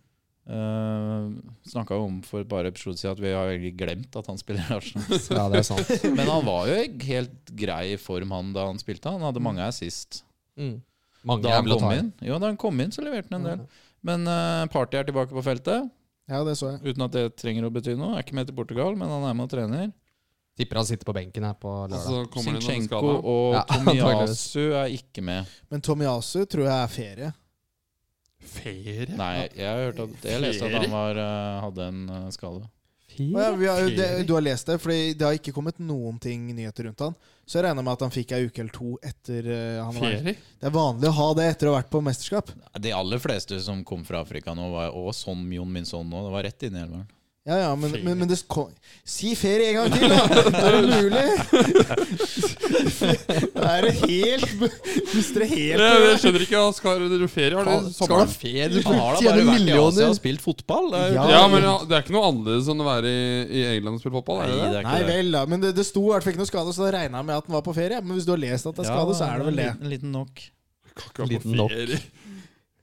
[SPEAKER 4] Uh, Snakka om for et par episoder siden at vi har egentlig glemt at han spiller i Arsenal.
[SPEAKER 2] Ja, det er sant.
[SPEAKER 4] Men han var jo i helt grei form han da han spilte. Han hadde mange assist.
[SPEAKER 2] Mm. Mange
[SPEAKER 4] Da han
[SPEAKER 2] jævla
[SPEAKER 4] kom
[SPEAKER 2] tar.
[SPEAKER 4] inn, jo, da han kom inn så leverte han en del. Men eh, Party er tilbake på feltet,
[SPEAKER 3] ja, det så jeg.
[SPEAKER 4] uten at det trenger å bety noe. Er ikke med til Portugal, men han er med og trener.
[SPEAKER 2] Tipper han sitter på benken her på
[SPEAKER 1] Og
[SPEAKER 4] Altså,
[SPEAKER 2] lørdag.
[SPEAKER 1] så kommer det sånn noen
[SPEAKER 4] Sinchenko
[SPEAKER 1] skada.
[SPEAKER 4] og
[SPEAKER 2] Ja, antageligvis.
[SPEAKER 4] Tomiyasu er ikke med.
[SPEAKER 3] Men Tomiyasu tror jeg er ferie.
[SPEAKER 1] Ferie?
[SPEAKER 4] Nei, jeg har hørt at Jeg leste at han var, eh, hadde en eh, skade.
[SPEAKER 3] Og ja, vi har, det,
[SPEAKER 1] Ferie?
[SPEAKER 3] du har lest det, for det har ikke kommet noen ting nyheter rundt han. Så jeg regner med at han fikk ei uke eller to etter eh, han var
[SPEAKER 1] Ferie?
[SPEAKER 3] Det er vanlig å ha det etter å ha vært på mesterskap.
[SPEAKER 4] De aller fleste som kom fra Afrika nå, var, og som Jon Minson nå, det var rett inn i elveren.
[SPEAKER 3] Ja, ja, men,
[SPEAKER 1] Ferie.
[SPEAKER 3] men, men det kom, Si ferie en gang til, da! Det er umulig! Det er helt Mister det helt
[SPEAKER 1] Ja, men jeg skjønner ikke. hva Skal dere ferie? Har dere
[SPEAKER 2] Skal du ha
[SPEAKER 1] sommeren?
[SPEAKER 2] ferie? Du
[SPEAKER 4] Han har da
[SPEAKER 2] tjener
[SPEAKER 4] bare vært i Asia
[SPEAKER 2] millioner!
[SPEAKER 4] og spilt fotball. Det er, jo-
[SPEAKER 3] Ja.
[SPEAKER 1] Ja, men det er ikke noe annerledes enn å være i, i England og spille fotball? er det
[SPEAKER 4] Nei,
[SPEAKER 1] det?
[SPEAKER 4] det er ikke
[SPEAKER 3] Nei
[SPEAKER 4] det.
[SPEAKER 3] vel, da. Men det, det sto i hvert fall ikke noe skade, så da regna jeg med at den var på ferie. Men hvis du har lest at det er skade, så er det vel det.
[SPEAKER 4] En liten, liten nok.
[SPEAKER 1] Kan ikke være på
[SPEAKER 2] Liten nok.
[SPEAKER 1] ferie.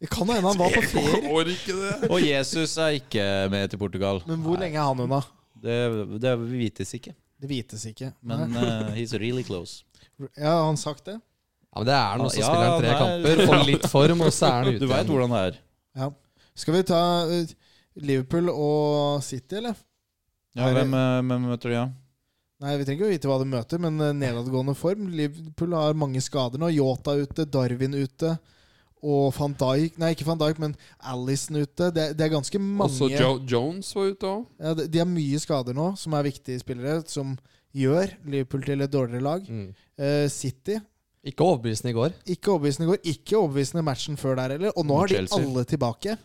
[SPEAKER 3] Det kan hende han var på ferie.
[SPEAKER 1] Går ikke det.
[SPEAKER 4] Og Jesus er ikke med til Portugal.
[SPEAKER 3] Men hvor
[SPEAKER 4] Nei,
[SPEAKER 3] lenge er han unna?
[SPEAKER 4] Det, det vites ikke.
[SPEAKER 3] Det vites ikke.
[SPEAKER 4] Men
[SPEAKER 3] Nei.
[SPEAKER 4] eh, he's really close.
[SPEAKER 3] ja, har han sagt det?
[SPEAKER 2] Ja, men det er noe som
[SPEAKER 4] Ja,
[SPEAKER 2] spiller han tre
[SPEAKER 4] nei.
[SPEAKER 2] kamper, får litt form, og så er han ute
[SPEAKER 4] Du veit
[SPEAKER 2] igjen.
[SPEAKER 4] hvordan det er.
[SPEAKER 3] Ja. Skal vi ta eh, Liverpool og City, eller? Er
[SPEAKER 4] Ja,
[SPEAKER 3] det-
[SPEAKER 4] hvem, eh, hvem møter du, ja?
[SPEAKER 3] Nei, Vi trenger ikke å vite hva de møter, men eh, nedadgående form. Liverpool har mange skader nå. Yota ute, Darwin ute. Og van Dijk Nei, ikke van Dijk, men Alison ute. Det, det er ganske mange
[SPEAKER 1] Også Joe Jones var ute òg.
[SPEAKER 3] Ja, de, de har mye skader nå, som er viktige spillere, som gjør Liverpool til et dårligere lag.
[SPEAKER 2] Mm.
[SPEAKER 3] Eh, City
[SPEAKER 2] Ikke overbevisende i går.
[SPEAKER 3] ikke overbevisende i går. Ikke overbevisende matchen før der heller. Og nå
[SPEAKER 4] Mot
[SPEAKER 3] er de
[SPEAKER 4] Chelsea.
[SPEAKER 3] alle tilbake.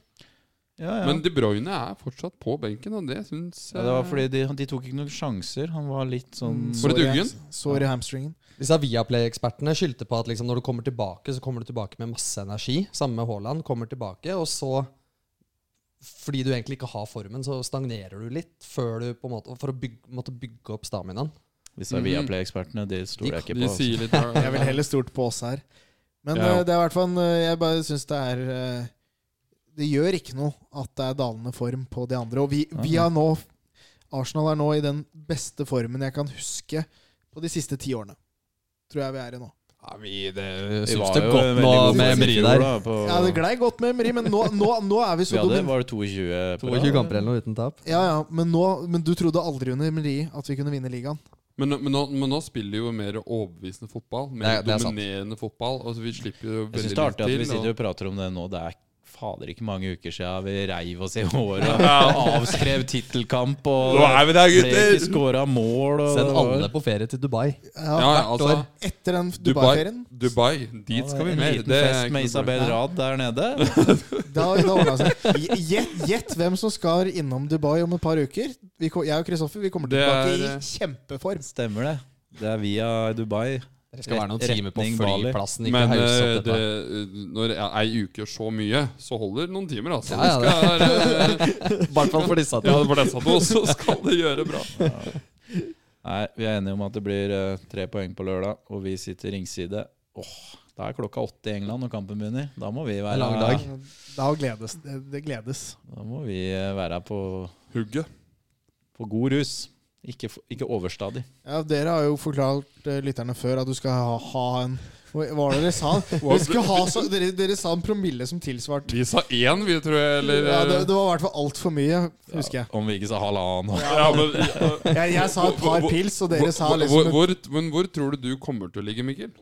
[SPEAKER 4] Ja, ja.
[SPEAKER 1] Men De Bruyne er fortsatt på benken, og det syns
[SPEAKER 4] ja, det var fordi de, de tok ikke noen sjanser. Han var litt sånn
[SPEAKER 1] For et
[SPEAKER 3] Sorry,
[SPEAKER 1] uggen.
[SPEAKER 3] Sorry, hamstringen.
[SPEAKER 2] Disse Viaplay-ekspertene skyldte på at liksom, når du kommer tilbake, så kommer du tilbake med masse energi. Samme med Haaland. Kommer tilbake, og så fordi du egentlig ikke har formen, så stagnerer du litt før du på en måte, for å bygge, måtte bygge opp staminaen.
[SPEAKER 4] Disse Viaplay-ekspertene, Mm. de stoler jeg ikke på.
[SPEAKER 1] De
[SPEAKER 4] altså.
[SPEAKER 1] sier litt
[SPEAKER 3] Jeg vil heller stort på oss her. Men
[SPEAKER 1] Ja.
[SPEAKER 3] eh, det er i hvert fall eh, Jeg bare syns det er eh, Det gjør ikke noe at det er dalende form på de andre. Og vi, vi
[SPEAKER 4] Ja.
[SPEAKER 3] har nå Arsenal er nå i den beste formen jeg kan huske på de siste ti årene. Tror jeg vi er i nå.
[SPEAKER 2] Ja, vi, det
[SPEAKER 4] Vi
[SPEAKER 2] syns
[SPEAKER 4] var
[SPEAKER 2] det
[SPEAKER 4] jo
[SPEAKER 2] godt
[SPEAKER 4] veldig
[SPEAKER 2] nå
[SPEAKER 4] gode
[SPEAKER 2] med
[SPEAKER 4] i
[SPEAKER 2] Emery
[SPEAKER 4] fjor,
[SPEAKER 2] der.
[SPEAKER 4] da, på-
[SPEAKER 3] Ja, det glei godt med Emery, men nå, nå, nå er vi
[SPEAKER 4] Vi
[SPEAKER 3] så
[SPEAKER 4] hadde
[SPEAKER 3] domin-
[SPEAKER 4] var det 22 på rad?
[SPEAKER 2] 22 kamper eller noe uten tap.
[SPEAKER 3] Ja, ja, men, nå, men du trodde aldri under Emery at vi kunne vinne ligaen.
[SPEAKER 1] Men, men, nå, men nå spiller jo mer overbevisende fotball. Mer
[SPEAKER 2] Det er- det er sant.
[SPEAKER 1] dominerende fotball. Altså Vi slipper jo
[SPEAKER 4] Jeg
[SPEAKER 1] veldig
[SPEAKER 4] syns det er artig at vi
[SPEAKER 1] og-
[SPEAKER 4] sitter og prater om det nå. Det er fader ikke mange uker siden vi reiv oss i håret og avskrev tittelkamp og
[SPEAKER 1] Nå er vi der,
[SPEAKER 4] ble ikke
[SPEAKER 1] gutter!
[SPEAKER 4] skåra mål. Og
[SPEAKER 2] Send alle på ferie til Dubai.
[SPEAKER 3] Ja,
[SPEAKER 1] Ja, ja, altså,
[SPEAKER 2] år.
[SPEAKER 3] Etter den
[SPEAKER 1] Dubai,
[SPEAKER 3] Dubai-ferien.
[SPEAKER 1] Dubai, dit skal vi
[SPEAKER 4] en
[SPEAKER 1] med.
[SPEAKER 4] liten
[SPEAKER 1] Det er
[SPEAKER 4] fest
[SPEAKER 1] ikke noe
[SPEAKER 4] med
[SPEAKER 1] problem.
[SPEAKER 4] Isabel Rad der nede.
[SPEAKER 3] Da, da ordnet det seg. Gjett, gjett hvem som skal innom Dubai om et par uker. Vi, ko- jeg og Kristoffer vi kommer
[SPEAKER 1] Det
[SPEAKER 3] tilbake i
[SPEAKER 1] er-
[SPEAKER 3] kjempeform.
[SPEAKER 4] Stemmer det. Det er via Dubai.
[SPEAKER 2] Det skal være noen
[SPEAKER 4] Ret-
[SPEAKER 2] timer på
[SPEAKER 4] retning Bali.
[SPEAKER 2] flyplassen. Ikke
[SPEAKER 1] Men
[SPEAKER 2] hausse
[SPEAKER 1] eh,
[SPEAKER 2] opp
[SPEAKER 1] det,
[SPEAKER 2] dette.
[SPEAKER 1] når ja, ei uke gjør så mye, så holder noen timer, altså.
[SPEAKER 2] Ja, ja,
[SPEAKER 1] Vi skal, eh,
[SPEAKER 2] I hvert fall for
[SPEAKER 1] ja,
[SPEAKER 2] disse to.
[SPEAKER 1] for det satt oss, så skal det gjøre bra.
[SPEAKER 4] Nei, vi er enige om at det blir eh, tre poeng på lørdag, og vi sitter ringside. Åh, da er klokka åtte i England når kampen begynner. Da må vi være,
[SPEAKER 2] lang dag.
[SPEAKER 3] Da gledes det. det Gledes.
[SPEAKER 4] Da må vi eh, være på,
[SPEAKER 1] Hugget.
[SPEAKER 4] på god rus. Ikke, f- ikke overstadig.
[SPEAKER 3] Ja, dere har jo forklart eh, lytterne før at du skal ha, ha en Hva var det dere sa? Dere, skulle ha så, dere, dere sa en promille som tilsvarte
[SPEAKER 1] Vi sa én, vi, tror jeg. Eller, eh,
[SPEAKER 3] ja, det, det var i hvert fall altfor mye, husker jeg.
[SPEAKER 4] Om vi ikke sa halvannen.
[SPEAKER 1] Ja, men, eh,
[SPEAKER 3] jeg. Jeg sa et par
[SPEAKER 1] Hvor- hvor-
[SPEAKER 3] pils, og dere sa
[SPEAKER 1] hvor, hvor,
[SPEAKER 3] liksom
[SPEAKER 1] hvor, men hvor tror du du kommer til å ligge, Mikkel?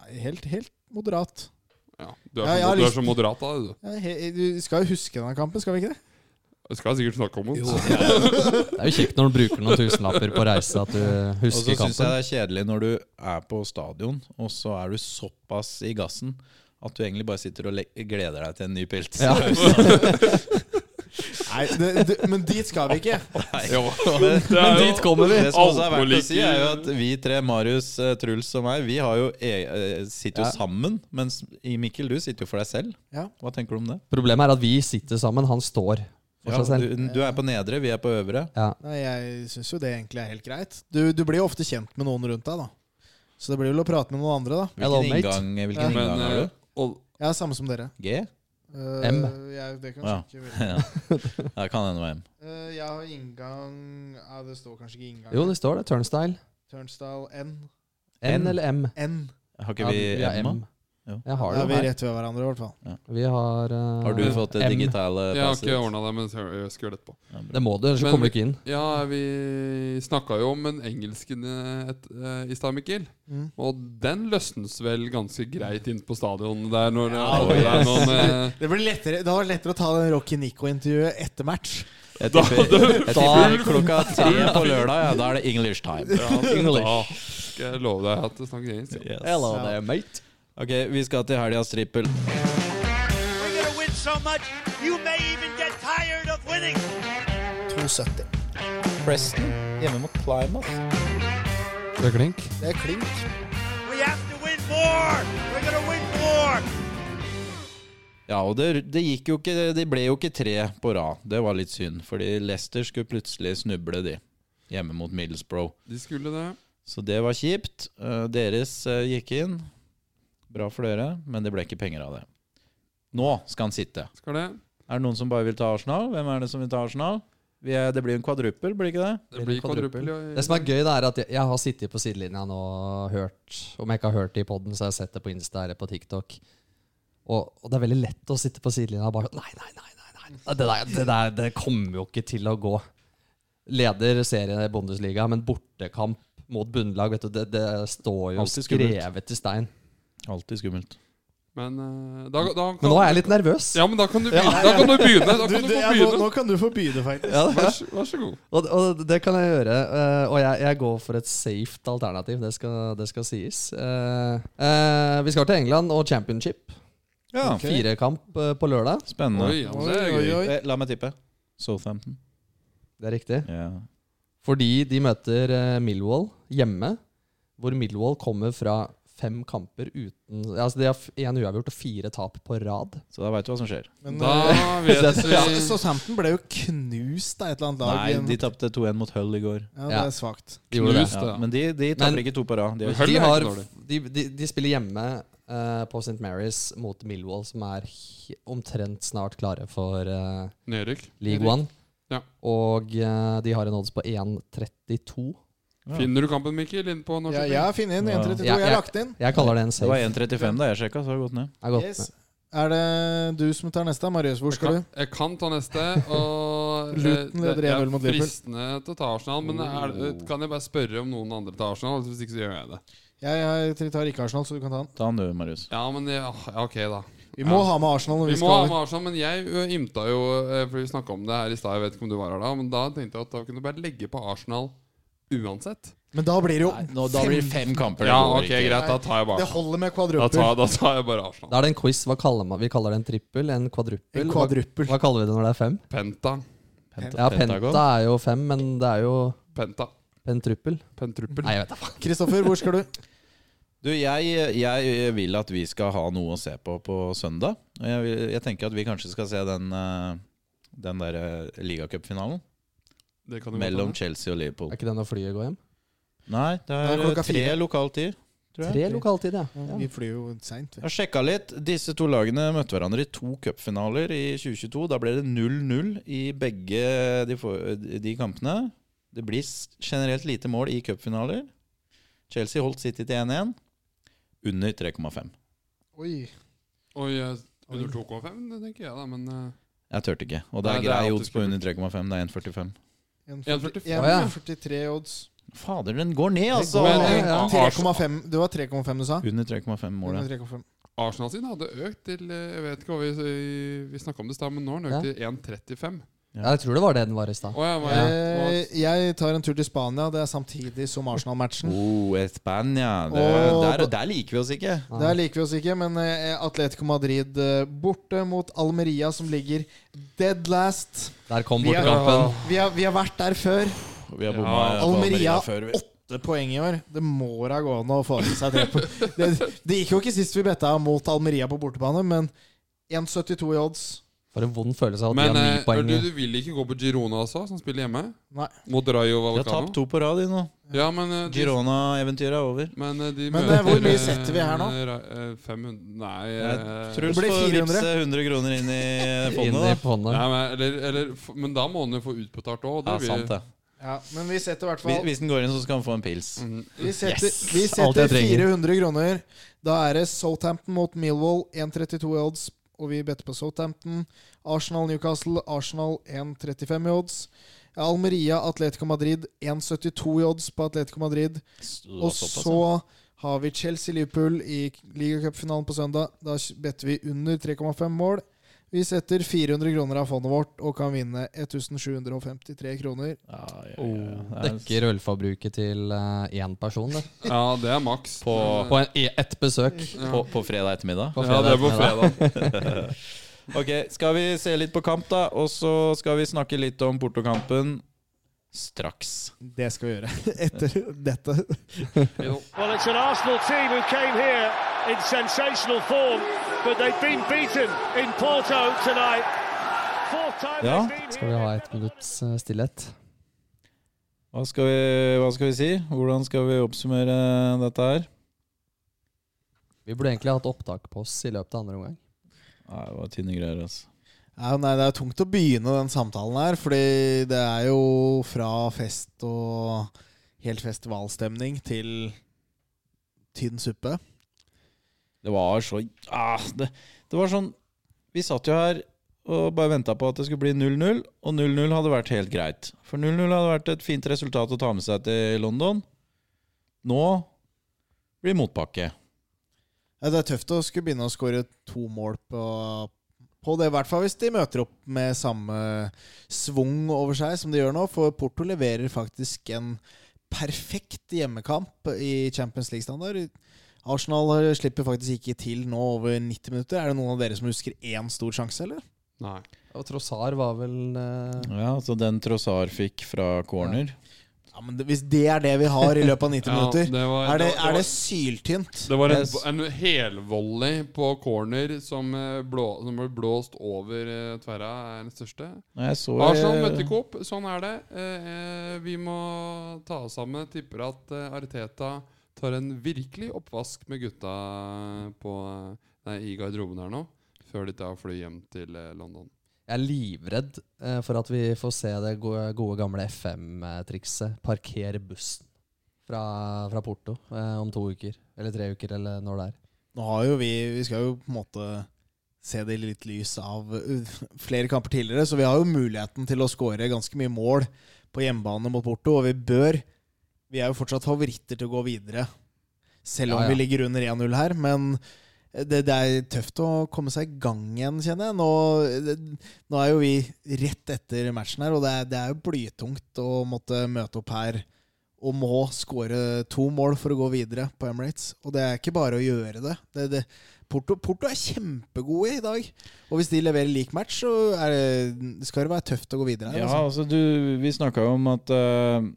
[SPEAKER 3] Nei, helt, helt moderat.
[SPEAKER 1] Ja, du, er
[SPEAKER 3] Ja, jeg
[SPEAKER 1] så, du er
[SPEAKER 3] har lyst-
[SPEAKER 1] så moderat av deg, du.
[SPEAKER 3] Ja, he, du skal jo huske denne kampen, skal vi ikke det?
[SPEAKER 1] Jeg skal sikkert snakke om den.
[SPEAKER 2] Det er jo kjekt når du bruker noen tusenlapper på reise at du
[SPEAKER 4] Og så
[SPEAKER 2] husker
[SPEAKER 4] syns jeg
[SPEAKER 2] kampen.
[SPEAKER 4] det er kjedelig når du er på stadion, og så er du såpass i gassen at du egentlig bare sitter og le- gleder deg til en ny pils.
[SPEAKER 2] Ja.
[SPEAKER 3] Nei, det, det, Men dit skal vi ikke.
[SPEAKER 1] Jo.
[SPEAKER 4] Men,
[SPEAKER 1] Det er jo-
[SPEAKER 2] dit kommer vi.
[SPEAKER 4] Det som også er verdt å
[SPEAKER 1] Alkoholiker.
[SPEAKER 4] si, er jo at vi tre, Marius, eh, Truls og meg, vi har jo e eh, sitter jo
[SPEAKER 2] Ja.
[SPEAKER 4] sammen. Mens i Mikkel, du sitter jo for deg selv.
[SPEAKER 3] Ja.
[SPEAKER 4] Hva tenker du om det?
[SPEAKER 2] Problemet er at vi sitter sammen, han står for
[SPEAKER 4] Ja,
[SPEAKER 2] seg selv.
[SPEAKER 4] du, du er på nedre, vi er på øvre.
[SPEAKER 2] Ja.
[SPEAKER 3] Nei, Jeg syns jo det egentlig er helt greit. Du, du blir jo ofte kjent med noen rundt deg, da. Så det blir vel å prate med noen andre, da.
[SPEAKER 2] Hello,
[SPEAKER 4] Hvilken
[SPEAKER 2] mate.
[SPEAKER 4] inngang,
[SPEAKER 3] Ja.
[SPEAKER 4] hvilken
[SPEAKER 1] Men
[SPEAKER 4] inngang har
[SPEAKER 1] eh,
[SPEAKER 4] du?
[SPEAKER 1] og,
[SPEAKER 3] Jeg er samme som dere.
[SPEAKER 4] G?
[SPEAKER 3] Eh,
[SPEAKER 2] M.
[SPEAKER 3] Jeg, det kan
[SPEAKER 4] Å, ja.
[SPEAKER 3] jeg sjekke veldig.
[SPEAKER 4] Ja. Jeg kan hende med M.
[SPEAKER 3] Eh, jeg har inngang ja, Det står kanskje ikke inngang.
[SPEAKER 2] Jo, det står det. Turnstyle.
[SPEAKER 3] Turnstile N.
[SPEAKER 2] N eller M?
[SPEAKER 3] N.
[SPEAKER 4] Har ikke
[SPEAKER 2] Ja,
[SPEAKER 4] vi
[SPEAKER 2] vi har
[SPEAKER 4] M, da?
[SPEAKER 2] M.
[SPEAKER 4] Jo.
[SPEAKER 2] Jeg har
[SPEAKER 3] Da er
[SPEAKER 2] det
[SPEAKER 3] vi
[SPEAKER 2] jo her.
[SPEAKER 3] rett ved hverandre, i hvert fall.
[SPEAKER 2] Vi har eh,
[SPEAKER 4] Har du fått det
[SPEAKER 2] M.
[SPEAKER 4] digitale
[SPEAKER 1] jeg har
[SPEAKER 4] passet?
[SPEAKER 1] ikke ordna det, men jeg skal gjøre det etterpå.
[SPEAKER 4] Ja, bra.
[SPEAKER 2] Det må du, ellers så
[SPEAKER 1] Men-
[SPEAKER 2] kommer du ikke inn.
[SPEAKER 1] Ja, vi snakka jo om en engelsken eh, et- eh, i stad, Mikkel.
[SPEAKER 3] Mm.
[SPEAKER 1] Og den løsnes vel ganske greit inn på stadion der når det
[SPEAKER 3] Ja,
[SPEAKER 1] er- det er noen eh,
[SPEAKER 3] Det blir lettere, det var lettere å ta den Rocky Nico-intervjuet etter match.
[SPEAKER 4] Jeg tipper, jeg tipper klokka tre på lørdag, ja, da er det English time.
[SPEAKER 1] ja, Da eh, skal jeg love deg at det snakker engelsk. Ja.
[SPEAKER 2] Hello
[SPEAKER 3] Ja.
[SPEAKER 2] there, mate.
[SPEAKER 4] Ok, vi skal til helgas trippel.
[SPEAKER 9] We're going to win so much, you may even get tired of winning.
[SPEAKER 3] 270.
[SPEAKER 4] Preston hjemme mot Plymouth.
[SPEAKER 2] Det er klink.
[SPEAKER 3] Det er klink.
[SPEAKER 9] We have to win more. We're going to win more.
[SPEAKER 4] Ja, og det, det gikk jo ikke De ble jo ikke tre på rad. Det var litt synd, fordi Leicester skulle plutselig snuble, de. Hjemme mot Middlesbrough.
[SPEAKER 1] De skulle det.
[SPEAKER 4] Så det var kjipt. Eh, Deres eh, gikk inn. Bra for dere, men det ble ikke penger av det. Nå skal han sitte.
[SPEAKER 1] Skal det.
[SPEAKER 4] Er det noen som bare vil ta Arsenal? Hvem er det som vil ta Arsenal? Vi er, det blir jo en kvadruppel, blir det ikke det?
[SPEAKER 1] Det blir kvadruppel. Ja.
[SPEAKER 2] Det som er gøy, det er at jeg, jeg har sittet på sidelinja nå og hørt Om jeg ikke har hørt det i poden, så har jeg sett det på Insta eller på TikTok. Og, og det er veldig lett å sitte på sidelinja og bare sånn, Nei, nei, nei. nei, nei. Det, der, det der det kommer jo ikke til å gå. Leder serien i Bundesliga, men bortekamp mot bunnlag, vet du, det, det står jo
[SPEAKER 4] Alltid skummelt.
[SPEAKER 2] skrevet i stein.
[SPEAKER 4] Alltid skummelt.
[SPEAKER 1] Men eh, da, da kan,
[SPEAKER 2] Men nå er jeg litt nervøs.
[SPEAKER 1] Ja, men da kan du begynne. Da kan du begynne. Da
[SPEAKER 3] Du,
[SPEAKER 1] kan du få
[SPEAKER 3] det, ja, nå,
[SPEAKER 1] begynne.
[SPEAKER 3] nå kan du få begynne, faktisk.
[SPEAKER 2] Ja, det
[SPEAKER 1] Vær
[SPEAKER 2] er.
[SPEAKER 1] så, vær så god.
[SPEAKER 2] Og, og det kan jeg gjøre. eh, og jeg, jeg går for et safe alternativ. Det skal, det skal sies. Eh, eh, vi skal til England og championship.
[SPEAKER 4] Ja,
[SPEAKER 3] Ok.
[SPEAKER 2] Firekamp eh, på lørdag.
[SPEAKER 4] spennende.
[SPEAKER 1] Oi, ja, men det er
[SPEAKER 3] Oi,
[SPEAKER 1] gøy.
[SPEAKER 3] oi, oi.
[SPEAKER 4] Eh, La meg tippe. Southampton.
[SPEAKER 2] Det er riktig.
[SPEAKER 4] Ja.
[SPEAKER 2] Fordi de møter eh, Millwall hjemme, hvor Millwall kommer fra fem kamper uten Altså De har f- én uavgjort og fire tap på rad.
[SPEAKER 4] Så da veit du hva som skjer.
[SPEAKER 3] Men
[SPEAKER 1] Da
[SPEAKER 3] eh,
[SPEAKER 1] vet vi
[SPEAKER 3] ja, Southampton ble jo knust av et eller annet lag.
[SPEAKER 4] Nei,
[SPEAKER 3] i en-
[SPEAKER 4] de tapte 2-1 mot Hull i går.
[SPEAKER 3] ja, det
[SPEAKER 2] Ja.
[SPEAKER 3] er svakt.
[SPEAKER 2] De gjorde det.
[SPEAKER 1] Knust.
[SPEAKER 4] Ja,
[SPEAKER 1] Ja.
[SPEAKER 4] men de, de taper
[SPEAKER 2] Men-
[SPEAKER 4] ikke to på rad. De har-
[SPEAKER 1] Hull
[SPEAKER 2] De,
[SPEAKER 1] er
[SPEAKER 2] har,
[SPEAKER 1] ikke dårlig.
[SPEAKER 2] de, de, de spiller hjemme eh, på St. Mary's mot Millwall, som er he- omtrent snart klare for eh,
[SPEAKER 1] Nedrykk.
[SPEAKER 2] League One.
[SPEAKER 1] Ja.
[SPEAKER 2] Og eh, de har en odds på 1,32.
[SPEAKER 4] Ja.
[SPEAKER 1] Finner du kampen, Mikkel, inn på norsk?
[SPEAKER 3] Ja, jeg har funnet inn
[SPEAKER 4] Ja.
[SPEAKER 2] Ja,
[SPEAKER 3] 1.32. Jeg
[SPEAKER 2] jeg-
[SPEAKER 3] har lagt inn.
[SPEAKER 2] Jeg kaller det en
[SPEAKER 4] Det var
[SPEAKER 2] safe.
[SPEAKER 4] 1,35 da jeg sjekka, så har det gått ned.
[SPEAKER 2] Jeg har gått
[SPEAKER 3] Yes.
[SPEAKER 2] med.
[SPEAKER 3] Er det du som tar neste? Marius, hvor
[SPEAKER 1] Jeg
[SPEAKER 3] skal
[SPEAKER 1] kan,
[SPEAKER 3] du?
[SPEAKER 1] jeg kan ta neste. Og eh,
[SPEAKER 3] Luton leder Oh.
[SPEAKER 1] det
[SPEAKER 3] 1-0 mot
[SPEAKER 1] er
[SPEAKER 3] Liverpool.
[SPEAKER 1] fristende til å ta Arsenal, men er, det- kan jeg bare spørre om noen andre tar Arsenal? altså, Hvis ikke, så gjør jeg det.
[SPEAKER 3] Jeg, jeg tar ikke Arsenal, så du kan ta den.
[SPEAKER 4] Ta han du, Marius.
[SPEAKER 1] ah, Ja, men ja, ja, ok, da.
[SPEAKER 3] Vi må
[SPEAKER 1] Ja.
[SPEAKER 3] ha med Arsenal når vi,
[SPEAKER 1] Vi må ha
[SPEAKER 3] skal
[SPEAKER 1] med Arsenal, men jeg ø, ymta jo eh, For vi snakka om det her i stad, jeg vet ikke om du var her da. Men da tenkte jeg at da kunne du bare legge på Arsenal uansett.
[SPEAKER 3] Men da blir det jo
[SPEAKER 4] Nei, nå, da blir det fem kamper. det
[SPEAKER 1] Ja,
[SPEAKER 4] går
[SPEAKER 1] ok,
[SPEAKER 4] ikke.
[SPEAKER 1] greit. Da tar jeg bare
[SPEAKER 3] Det holder med
[SPEAKER 1] Da
[SPEAKER 3] kvadruppel.
[SPEAKER 1] tar, da tar jeg bare Arsenal.
[SPEAKER 2] Da er det en quiz. Hva kaller man? Vi kaller det en trippel, en kvadruppel.
[SPEAKER 3] En
[SPEAKER 2] Hva,
[SPEAKER 3] kvadruppel.
[SPEAKER 2] hva kaller vi det når det er fem?
[SPEAKER 1] Penta.
[SPEAKER 4] Penta-
[SPEAKER 2] Ja,
[SPEAKER 4] Pentagon.
[SPEAKER 2] penta er jo fem, men det er jo
[SPEAKER 1] Penta.
[SPEAKER 2] pentruppel.
[SPEAKER 1] Pentruppel.
[SPEAKER 2] Nei, jeg vet da faen.
[SPEAKER 3] Kristoffer, hvor skal du?
[SPEAKER 4] Du, jeg, jeg vil at vi skal ha noe å se på på søndag. Og jeg, vil- jeg tenker at vi kanskje skal se den, eh, den derre ligacupfinalen
[SPEAKER 1] Det kan du godt ta
[SPEAKER 4] mellom
[SPEAKER 1] med.
[SPEAKER 4] Chelsea og Liverpool.
[SPEAKER 2] Er ikke det når flyet går hjem?
[SPEAKER 4] Nei, det er,
[SPEAKER 3] Det er klokka
[SPEAKER 4] tre
[SPEAKER 3] fire.
[SPEAKER 4] lokal tid, tror jeg.
[SPEAKER 2] Tre lokaltid, ja. ja.
[SPEAKER 3] Vi flyr jo seint.
[SPEAKER 4] Jeg har sjekka litt. Disse to lagene møtte hverandre i to cupfinaler i 2022. Da ble det 0-0 i begge de, for, de kampene. Det blir s- generelt lite mål i cupfinaler. Chelsea holdt City til 1-1. Under 3,5.
[SPEAKER 3] Oi.
[SPEAKER 1] Oi, eh, under 2,5, det tenker jeg, da. Men eh,
[SPEAKER 4] Jeg turte ikke. Og det
[SPEAKER 1] Nei,
[SPEAKER 4] er
[SPEAKER 1] det er
[SPEAKER 4] grei
[SPEAKER 1] alltid
[SPEAKER 4] odds på under 3,5. Det er 1,45.
[SPEAKER 3] 1,45
[SPEAKER 1] 1,45.
[SPEAKER 2] Å, ja.
[SPEAKER 3] 1,43 odds.
[SPEAKER 4] Fader, den går ned, altså!
[SPEAKER 1] går
[SPEAKER 3] Ja,
[SPEAKER 1] ned.
[SPEAKER 3] ja.
[SPEAKER 1] Ars-
[SPEAKER 3] 3,5. Det var 3,5 du sa?
[SPEAKER 4] Under 3,5 målet.
[SPEAKER 3] 3,5.
[SPEAKER 1] Arsenal sin hadde økt til eh, Jeg vet ikke hva vi, vi snakka om det i stad, men nå har den økt til 1,35.
[SPEAKER 2] Ja, Jeg tror det var det den var i stad.
[SPEAKER 1] Å, ja, hva-
[SPEAKER 3] Eh,
[SPEAKER 1] hva-
[SPEAKER 3] Jeg tar en tur til Spania. Det er samtidig som Arsenal-matchen.
[SPEAKER 4] Oh, Espania. Det,
[SPEAKER 3] Og-
[SPEAKER 4] der, der liker vi oss ikke.
[SPEAKER 3] Der liker vi oss ikke, men eh, Atletico Madrid eh, borte mot Almeria, som ligger dead last.
[SPEAKER 2] Der kom
[SPEAKER 3] Vi er-
[SPEAKER 2] bortekampen.
[SPEAKER 3] Vi har, vi har vært der før.
[SPEAKER 4] Vi har bomma
[SPEAKER 1] Ja,
[SPEAKER 4] på
[SPEAKER 3] Almeria
[SPEAKER 4] før. vi.
[SPEAKER 3] Åtte poeng i år. Det må da gå an å få til seg tre poeng. Det, det gikk jo ikke sist vi betta mot Almeria på bortebane, men 1,72 i odds.
[SPEAKER 2] For en vond følelse av at
[SPEAKER 1] Men
[SPEAKER 2] de har
[SPEAKER 1] eh,
[SPEAKER 2] ni poeng.
[SPEAKER 1] du, du vil ikke gå på Girona også, som spiller hjemme?
[SPEAKER 3] Nei.
[SPEAKER 1] Mot Rayo
[SPEAKER 4] Vi har tapt
[SPEAKER 1] Vallecano?
[SPEAKER 4] to på rad i nå.
[SPEAKER 1] Ja, men eh, de,
[SPEAKER 4] Girona-eventyret er over.
[SPEAKER 1] men, eh, de
[SPEAKER 3] Men, eh,
[SPEAKER 1] møter
[SPEAKER 3] hvor mye
[SPEAKER 1] eh,
[SPEAKER 3] setter vi her nå?
[SPEAKER 1] Ra- eh, 500 Nei eh,
[SPEAKER 4] Truls
[SPEAKER 3] Det blir
[SPEAKER 4] får
[SPEAKER 3] 400.
[SPEAKER 4] vippse 100 kroner inn i
[SPEAKER 2] Inn i
[SPEAKER 4] fondet. da.
[SPEAKER 2] hånda.
[SPEAKER 1] nei, men, eller, eller, f- men da må han jo få utbetalt òg.
[SPEAKER 4] Ja, sant det.
[SPEAKER 3] Ja, men vi setter i hvert
[SPEAKER 4] Hvis,
[SPEAKER 3] fall
[SPEAKER 4] hvis den går inn, så skal han få en pils.
[SPEAKER 2] Mm.
[SPEAKER 1] Mhm.
[SPEAKER 3] Vi setter,
[SPEAKER 4] Yes!
[SPEAKER 3] vi
[SPEAKER 2] Alt
[SPEAKER 3] setter
[SPEAKER 2] jeg trenger.
[SPEAKER 3] 400 kroner. Da er det Southampton mot Millwall, 1,32 i odds. Og vi better på Southampton. Arsenal-Newcastle, Arsenal 1,35 i odds. Almeria, Atletico Madrid 1,72 i odds på Atletico Madrid. Og så har vi Chelsea-Liverpool i ligacupfinalen på søndag. Da better vi under 3,5 mål. Vi setter 400 kroner av fondet vårt og kan vinne 1753 kroner.
[SPEAKER 2] Oh, Dekker ølforbruket til eh, én person, det.
[SPEAKER 1] Ja, det er maks.
[SPEAKER 4] På,
[SPEAKER 2] På en, e- ett besøk.
[SPEAKER 4] på, på fredag ettermiddag.
[SPEAKER 2] På
[SPEAKER 1] ja, det er på
[SPEAKER 2] ettermiddag.
[SPEAKER 1] fredag.
[SPEAKER 4] Ok, skal vi se litt på kamp, da? Og så skal vi snakke litt om Porto-kampen straks.
[SPEAKER 3] Det skal vi gjøre etter dette.
[SPEAKER 9] Well, it's an Arsenal team who came here in sensational form, but they've been beaten in Porto tonight. Fourth time
[SPEAKER 4] Ja,
[SPEAKER 9] they've been
[SPEAKER 2] Skal vi ha ett minutts eh, stillhet?
[SPEAKER 4] Hva skal, vi, hva skal vi si? Hvordan skal vi oppsummere dette her?
[SPEAKER 2] Vi burde egentlig hatt opptak på oss i løpet av andre omgang.
[SPEAKER 4] Nei, det var tynne greier, altså.
[SPEAKER 3] Ja, nei, det er tungt å begynne den samtalen her, fordi det er jo fra fest og helt festivalstemning til tynn suppe.
[SPEAKER 4] Det var så ah, det, det var sånn Vi satt jo her og bare venta på at det skulle bli 0-0, og 0-0 hadde vært helt greit. For 0-0 hadde vært et fint resultat å ta med seg til London. Nå blir det motbakke.
[SPEAKER 3] Ja, det er tøft å skulle begynne å skåre to mål på, på det, i hvert fall hvis de møter opp med samme svung over seg som de gjør nå, for Porto leverer faktisk en perfekt hjemmekamp i Champions League-standard. Arsenal slipper faktisk ikke til nå over 90 minutter. Er det noen av dere som husker én stor sjanse, eller?
[SPEAKER 1] Nei.
[SPEAKER 2] Og Trossar var vel eh,
[SPEAKER 4] Ja, så den Trossar fikk fra corner
[SPEAKER 3] Ja, men det, Hvis det er det vi har i løpet av 90
[SPEAKER 1] Ja,
[SPEAKER 3] minutter,
[SPEAKER 1] det var,
[SPEAKER 3] er det,
[SPEAKER 1] var-
[SPEAKER 3] er det syltynt.
[SPEAKER 1] Det var en, en helvolley på corner som, eh, blå, som ble blåst over eh, tverra, er den største.
[SPEAKER 4] Nei, Jeg så
[SPEAKER 1] Arsenal møtte Coop, sånn er det. Eh, eh, vi må ta oss sammen. Tipper at eh, Arteta tar en virkelig oppvask med gutta på, eh, nei, i garderoben her nå, før de tar fly hjem til eh, London.
[SPEAKER 2] Jeg er livredd eh, for at vi får se det gode, gode gamle FM-trikset. Parker bussen fra, fra Porto eh, om to uker. Eller tre uker, eller når det er.
[SPEAKER 3] Nå har jo vi Vi skal jo på en måte se det i litt lys av uh, flere kamper tidligere, så vi har jo muligheten til å skåre ganske mye mål på hjemmebane mot Porto, og vi bør Vi er jo fortsatt favoritter til å gå videre, selv om
[SPEAKER 2] Ja, ja.
[SPEAKER 3] vi ligger under 1-0 her, men det, det er tøft å komme seg i gang igjen, kjenner jeg. Nå, det, nå er jo vi rett etter matchen her, og det er, det er jo blytungt å måtte møte opp her og må skåre to mål for å gå videre på Emirates. Og det er ikke bare å gjøre det. det, det Porto, Porto er kjempegode i dag. Og hvis de leverer lik match, så er det, skal det være tøft å gå videre. her,
[SPEAKER 4] Ja,
[SPEAKER 3] altså.
[SPEAKER 4] altså du, vi snakka jo om at eh,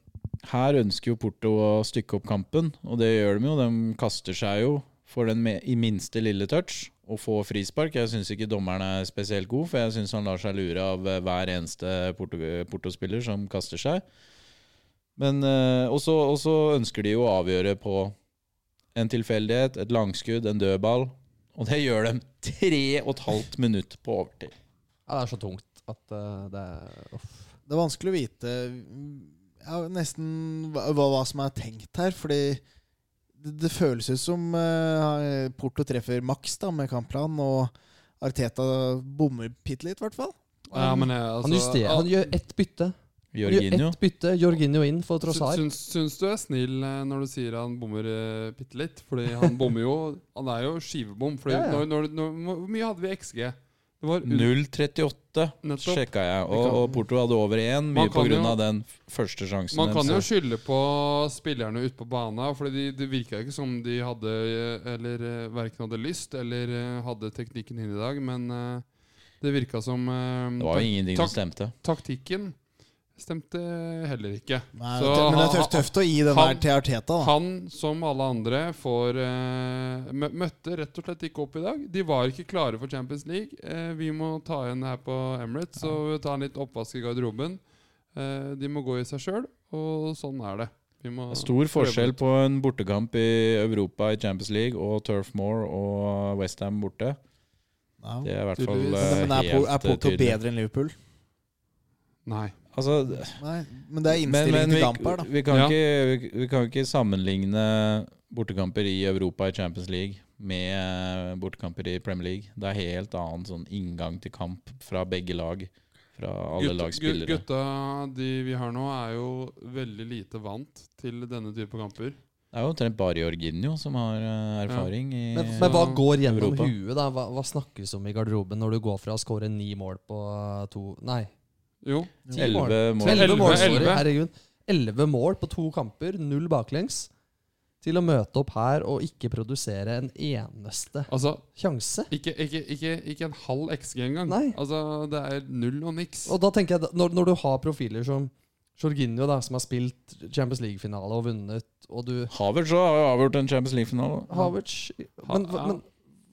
[SPEAKER 4] her ønsker jo Porto å stykke opp kampen, og det gjør de jo. De kaster seg jo for den me- i minste lille touch og får frispark. Jeg syns ikke dommeren er spesielt god, for jeg syns han lar seg lure av eh, hver eneste Porto- Porto-spiller som kaster seg. Men eh, Og så og så ønsker de jo å avgjøre på en tilfeldighet, et langskudd, en dødball. Og det gjør de tre og et halvt minutt på overtid.
[SPEAKER 2] Ja, det er så tungt at eh, det er uff.
[SPEAKER 3] Det er vanskelig å vite ja, nesten hva, hva hva som er tenkt her, fordi det, det føles ut som eh, Porto treffer maks da, med kampplan, og Arteta bommer bitte litt, i hvert fall.
[SPEAKER 1] Ja, men jeg, altså,
[SPEAKER 2] Han justerer. Han gjør ett bytte. Han gjør
[SPEAKER 4] Jorginho.
[SPEAKER 2] ett bytte, Jorginho inn for Trossar.
[SPEAKER 1] Syns, syns du er snill eh, når du sier han bommer eh, bitte litt? Fordi han bommer jo Han er jo skivebom. Fordi
[SPEAKER 2] Ja, ja.
[SPEAKER 1] Når, når, når, hvor mye hadde vi i XG? Det var under
[SPEAKER 4] 0,38
[SPEAKER 1] Nettopp.
[SPEAKER 4] sjekka jeg,
[SPEAKER 1] Vi
[SPEAKER 4] og,
[SPEAKER 1] kan-
[SPEAKER 4] og Porto hadde over én, mye
[SPEAKER 1] Man kan
[SPEAKER 4] pga.
[SPEAKER 1] jo-
[SPEAKER 4] den f- første sjansen.
[SPEAKER 1] Man kan jo
[SPEAKER 4] deres.
[SPEAKER 1] skylde på spillerne ute på banen, for det de virka ikke som de hadde eh, Eller eh, verken hadde lyst eller eh, hadde teknikken inn i dag, men eh, det virka som eh,
[SPEAKER 4] det var jo ingenting
[SPEAKER 1] takk-
[SPEAKER 4] som stemte.
[SPEAKER 1] Taktikken stemte heller ikke.
[SPEAKER 3] Nei,
[SPEAKER 1] Så
[SPEAKER 3] men det er
[SPEAKER 1] han-
[SPEAKER 3] tøft, tøft å gi den
[SPEAKER 1] han-
[SPEAKER 3] der til Arteta, da.
[SPEAKER 1] Han, som alle andre, får eh, mø- møtte rett og slett ikke opp i dag. De var ikke klare for Champions League. Eh, vi må ta igjen her på Emirates og ta en litt oppvask i garderoben. Eh, de må gå i seg sjøl, og sånn er det. Vi må
[SPEAKER 4] Stor
[SPEAKER 1] prøve
[SPEAKER 4] forskjell
[SPEAKER 1] ut.
[SPEAKER 4] på en bortekamp i Europa i Champions League og Turf Moor og Westham borte.
[SPEAKER 3] Ja.
[SPEAKER 4] Det er i hvert fall
[SPEAKER 1] Tydeligvis.
[SPEAKER 4] eh,
[SPEAKER 3] Men er, Po- er
[SPEAKER 4] helt eh,
[SPEAKER 3] Porto
[SPEAKER 4] tydelig.
[SPEAKER 3] bedre enn Liverpool?
[SPEAKER 1] Nei.
[SPEAKER 4] Altså,
[SPEAKER 3] Nei, men det er
[SPEAKER 4] men
[SPEAKER 3] innstilling
[SPEAKER 4] men vi,
[SPEAKER 3] til kamp her, da.
[SPEAKER 4] vi, kan
[SPEAKER 1] Ja.
[SPEAKER 4] ikke, vi, vi kan ikke sammenligne bortekamper i Europa i Champions League med eh, bortekamper i Premier League. Det er helt annen sånn inngang til kamp fra begge lag. Fra alle
[SPEAKER 1] Gutt-
[SPEAKER 4] lags
[SPEAKER 1] gut-
[SPEAKER 4] spillere.
[SPEAKER 1] Gutta de vi har nå, er jo veldig lite vant til denne type kamper.
[SPEAKER 4] Det er jo omtrent bare Jorginho som har eh, erfaring i
[SPEAKER 2] Men, men hva går gjennom
[SPEAKER 4] Europa.
[SPEAKER 2] huet? da? Hva, hva snakkes om i garderoben når du går fra å skåre ni mål på to Nei,
[SPEAKER 1] Jo.
[SPEAKER 2] ti mål.
[SPEAKER 4] 11 mål.
[SPEAKER 1] Elleve,
[SPEAKER 2] Elleve mål, sorry.
[SPEAKER 1] elleve.
[SPEAKER 2] Herregud. Elleve mål på to kamper, null baklengs. Til å møte opp her og ikke produsere en eneste
[SPEAKER 1] Altså,
[SPEAKER 2] sjanse.
[SPEAKER 1] ikke, ikke, ikke, ikke en halv XG engang.
[SPEAKER 2] Nei.
[SPEAKER 1] Altså, det er null og niks.
[SPEAKER 2] Og da tenker jeg, da- når, når du har profiler som Jorginho, da, som har spilt Champions League-finale og vunnet, og du
[SPEAKER 4] Havertz har jo avgjort en Champions League-finale.
[SPEAKER 2] Havertz men, hva-
[SPEAKER 1] ja.
[SPEAKER 2] men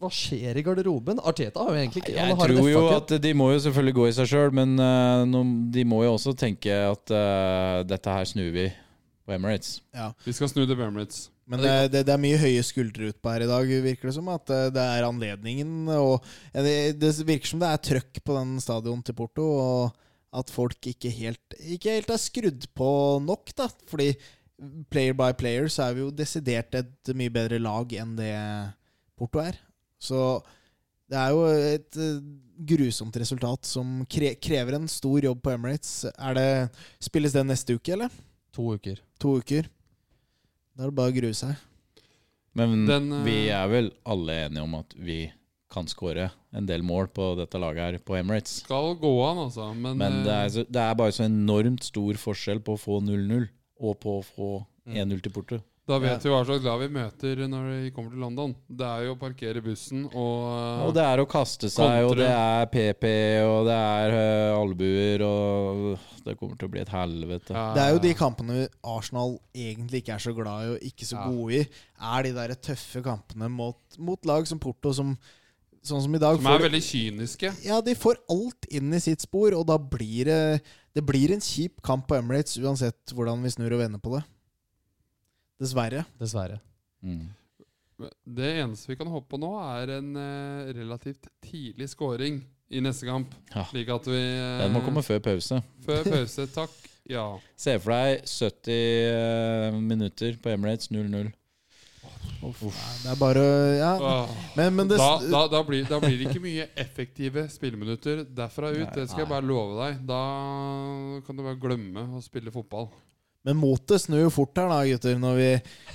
[SPEAKER 2] hva skjer i garderoben? Arteta har jo egentlig ikke
[SPEAKER 4] Jeg
[SPEAKER 2] han har et
[SPEAKER 4] tror jo
[SPEAKER 2] FA-cup.
[SPEAKER 4] at de må jo selvfølgelig gå i seg sjøl, men eh, nå- de må jo også tenke at eh, dette her snur vi på Emirates.
[SPEAKER 1] Vi skal snu det på Emirates.
[SPEAKER 3] Men det, det, det er mye høye skuldre utpå her i dag, virker det som. At eh, det er anledningen. Og ja, det, det virker som det er trøkk på den stadion til Porto. Og at folk ikke helt, ikke helt er skrudd på nok, da. Fordi player by player så er vi jo desidert et mye bedre lag enn det Porto er. Så det er jo et eh, grusomt resultat som kre krever en stor jobb på Emirates. Er det, spilles det neste uke, eller?
[SPEAKER 2] To uker.
[SPEAKER 3] To uker? Da er det bare å grue seg.
[SPEAKER 4] Men
[SPEAKER 1] Den, eh,
[SPEAKER 4] vi er vel alle enige om at vi kan skåre en del mål på dette laget her på Emirates.
[SPEAKER 1] Skal gå an, altså. Men,
[SPEAKER 4] Men det
[SPEAKER 1] eh,
[SPEAKER 4] er, så, det er bare så enormt stor forskjell på å få 0-0 og på å få
[SPEAKER 1] Mm.
[SPEAKER 4] 1-0 til Porto.
[SPEAKER 1] Da vet vi hva slags lag vi møter når vi kommer til London. Det er jo å parkere bussen og,
[SPEAKER 4] Og det er å kaste seg, og
[SPEAKER 1] Kontre.
[SPEAKER 4] det er PP, og det er øh, albuer, og øh, det kommer til å bli et helvete.
[SPEAKER 1] Ja,
[SPEAKER 3] Det er jo de kampene Arsenal egentlig ikke er så glad i og ikke så
[SPEAKER 1] Ja.
[SPEAKER 3] gode i, er de der tøffe kampene mot, mot lag som Porto, som, sånn som i dag.
[SPEAKER 1] som er veldig kyniske.
[SPEAKER 3] ja, de får alt inn i sitt spor, og da blir det, det blir en kjip kamp på Emirates uansett hvordan vi snur og vender på det. Dessverre.
[SPEAKER 2] Dessverre.
[SPEAKER 4] Mm.
[SPEAKER 1] Det eneste vi kan håpe på nå, er en eh, relativt tidlig scoring i neste kamp.
[SPEAKER 4] Ja.
[SPEAKER 1] Slik at vi eh,
[SPEAKER 4] Den må komme før pause.
[SPEAKER 1] før pause. Takk. Ja.
[SPEAKER 4] Se for deg 70 øh, minutter på Emirates 0-0.
[SPEAKER 3] Det er bare Ja.
[SPEAKER 1] Åh.
[SPEAKER 3] Men, men det,
[SPEAKER 1] da, da, da, blir, da blir det ikke mye effektive spilleminutter derfra ut. Det skal jeg bare love deg. Da kan du bare glemme å spille fotball.
[SPEAKER 3] Men motet snur jo fort her, da, gutter. Når vi,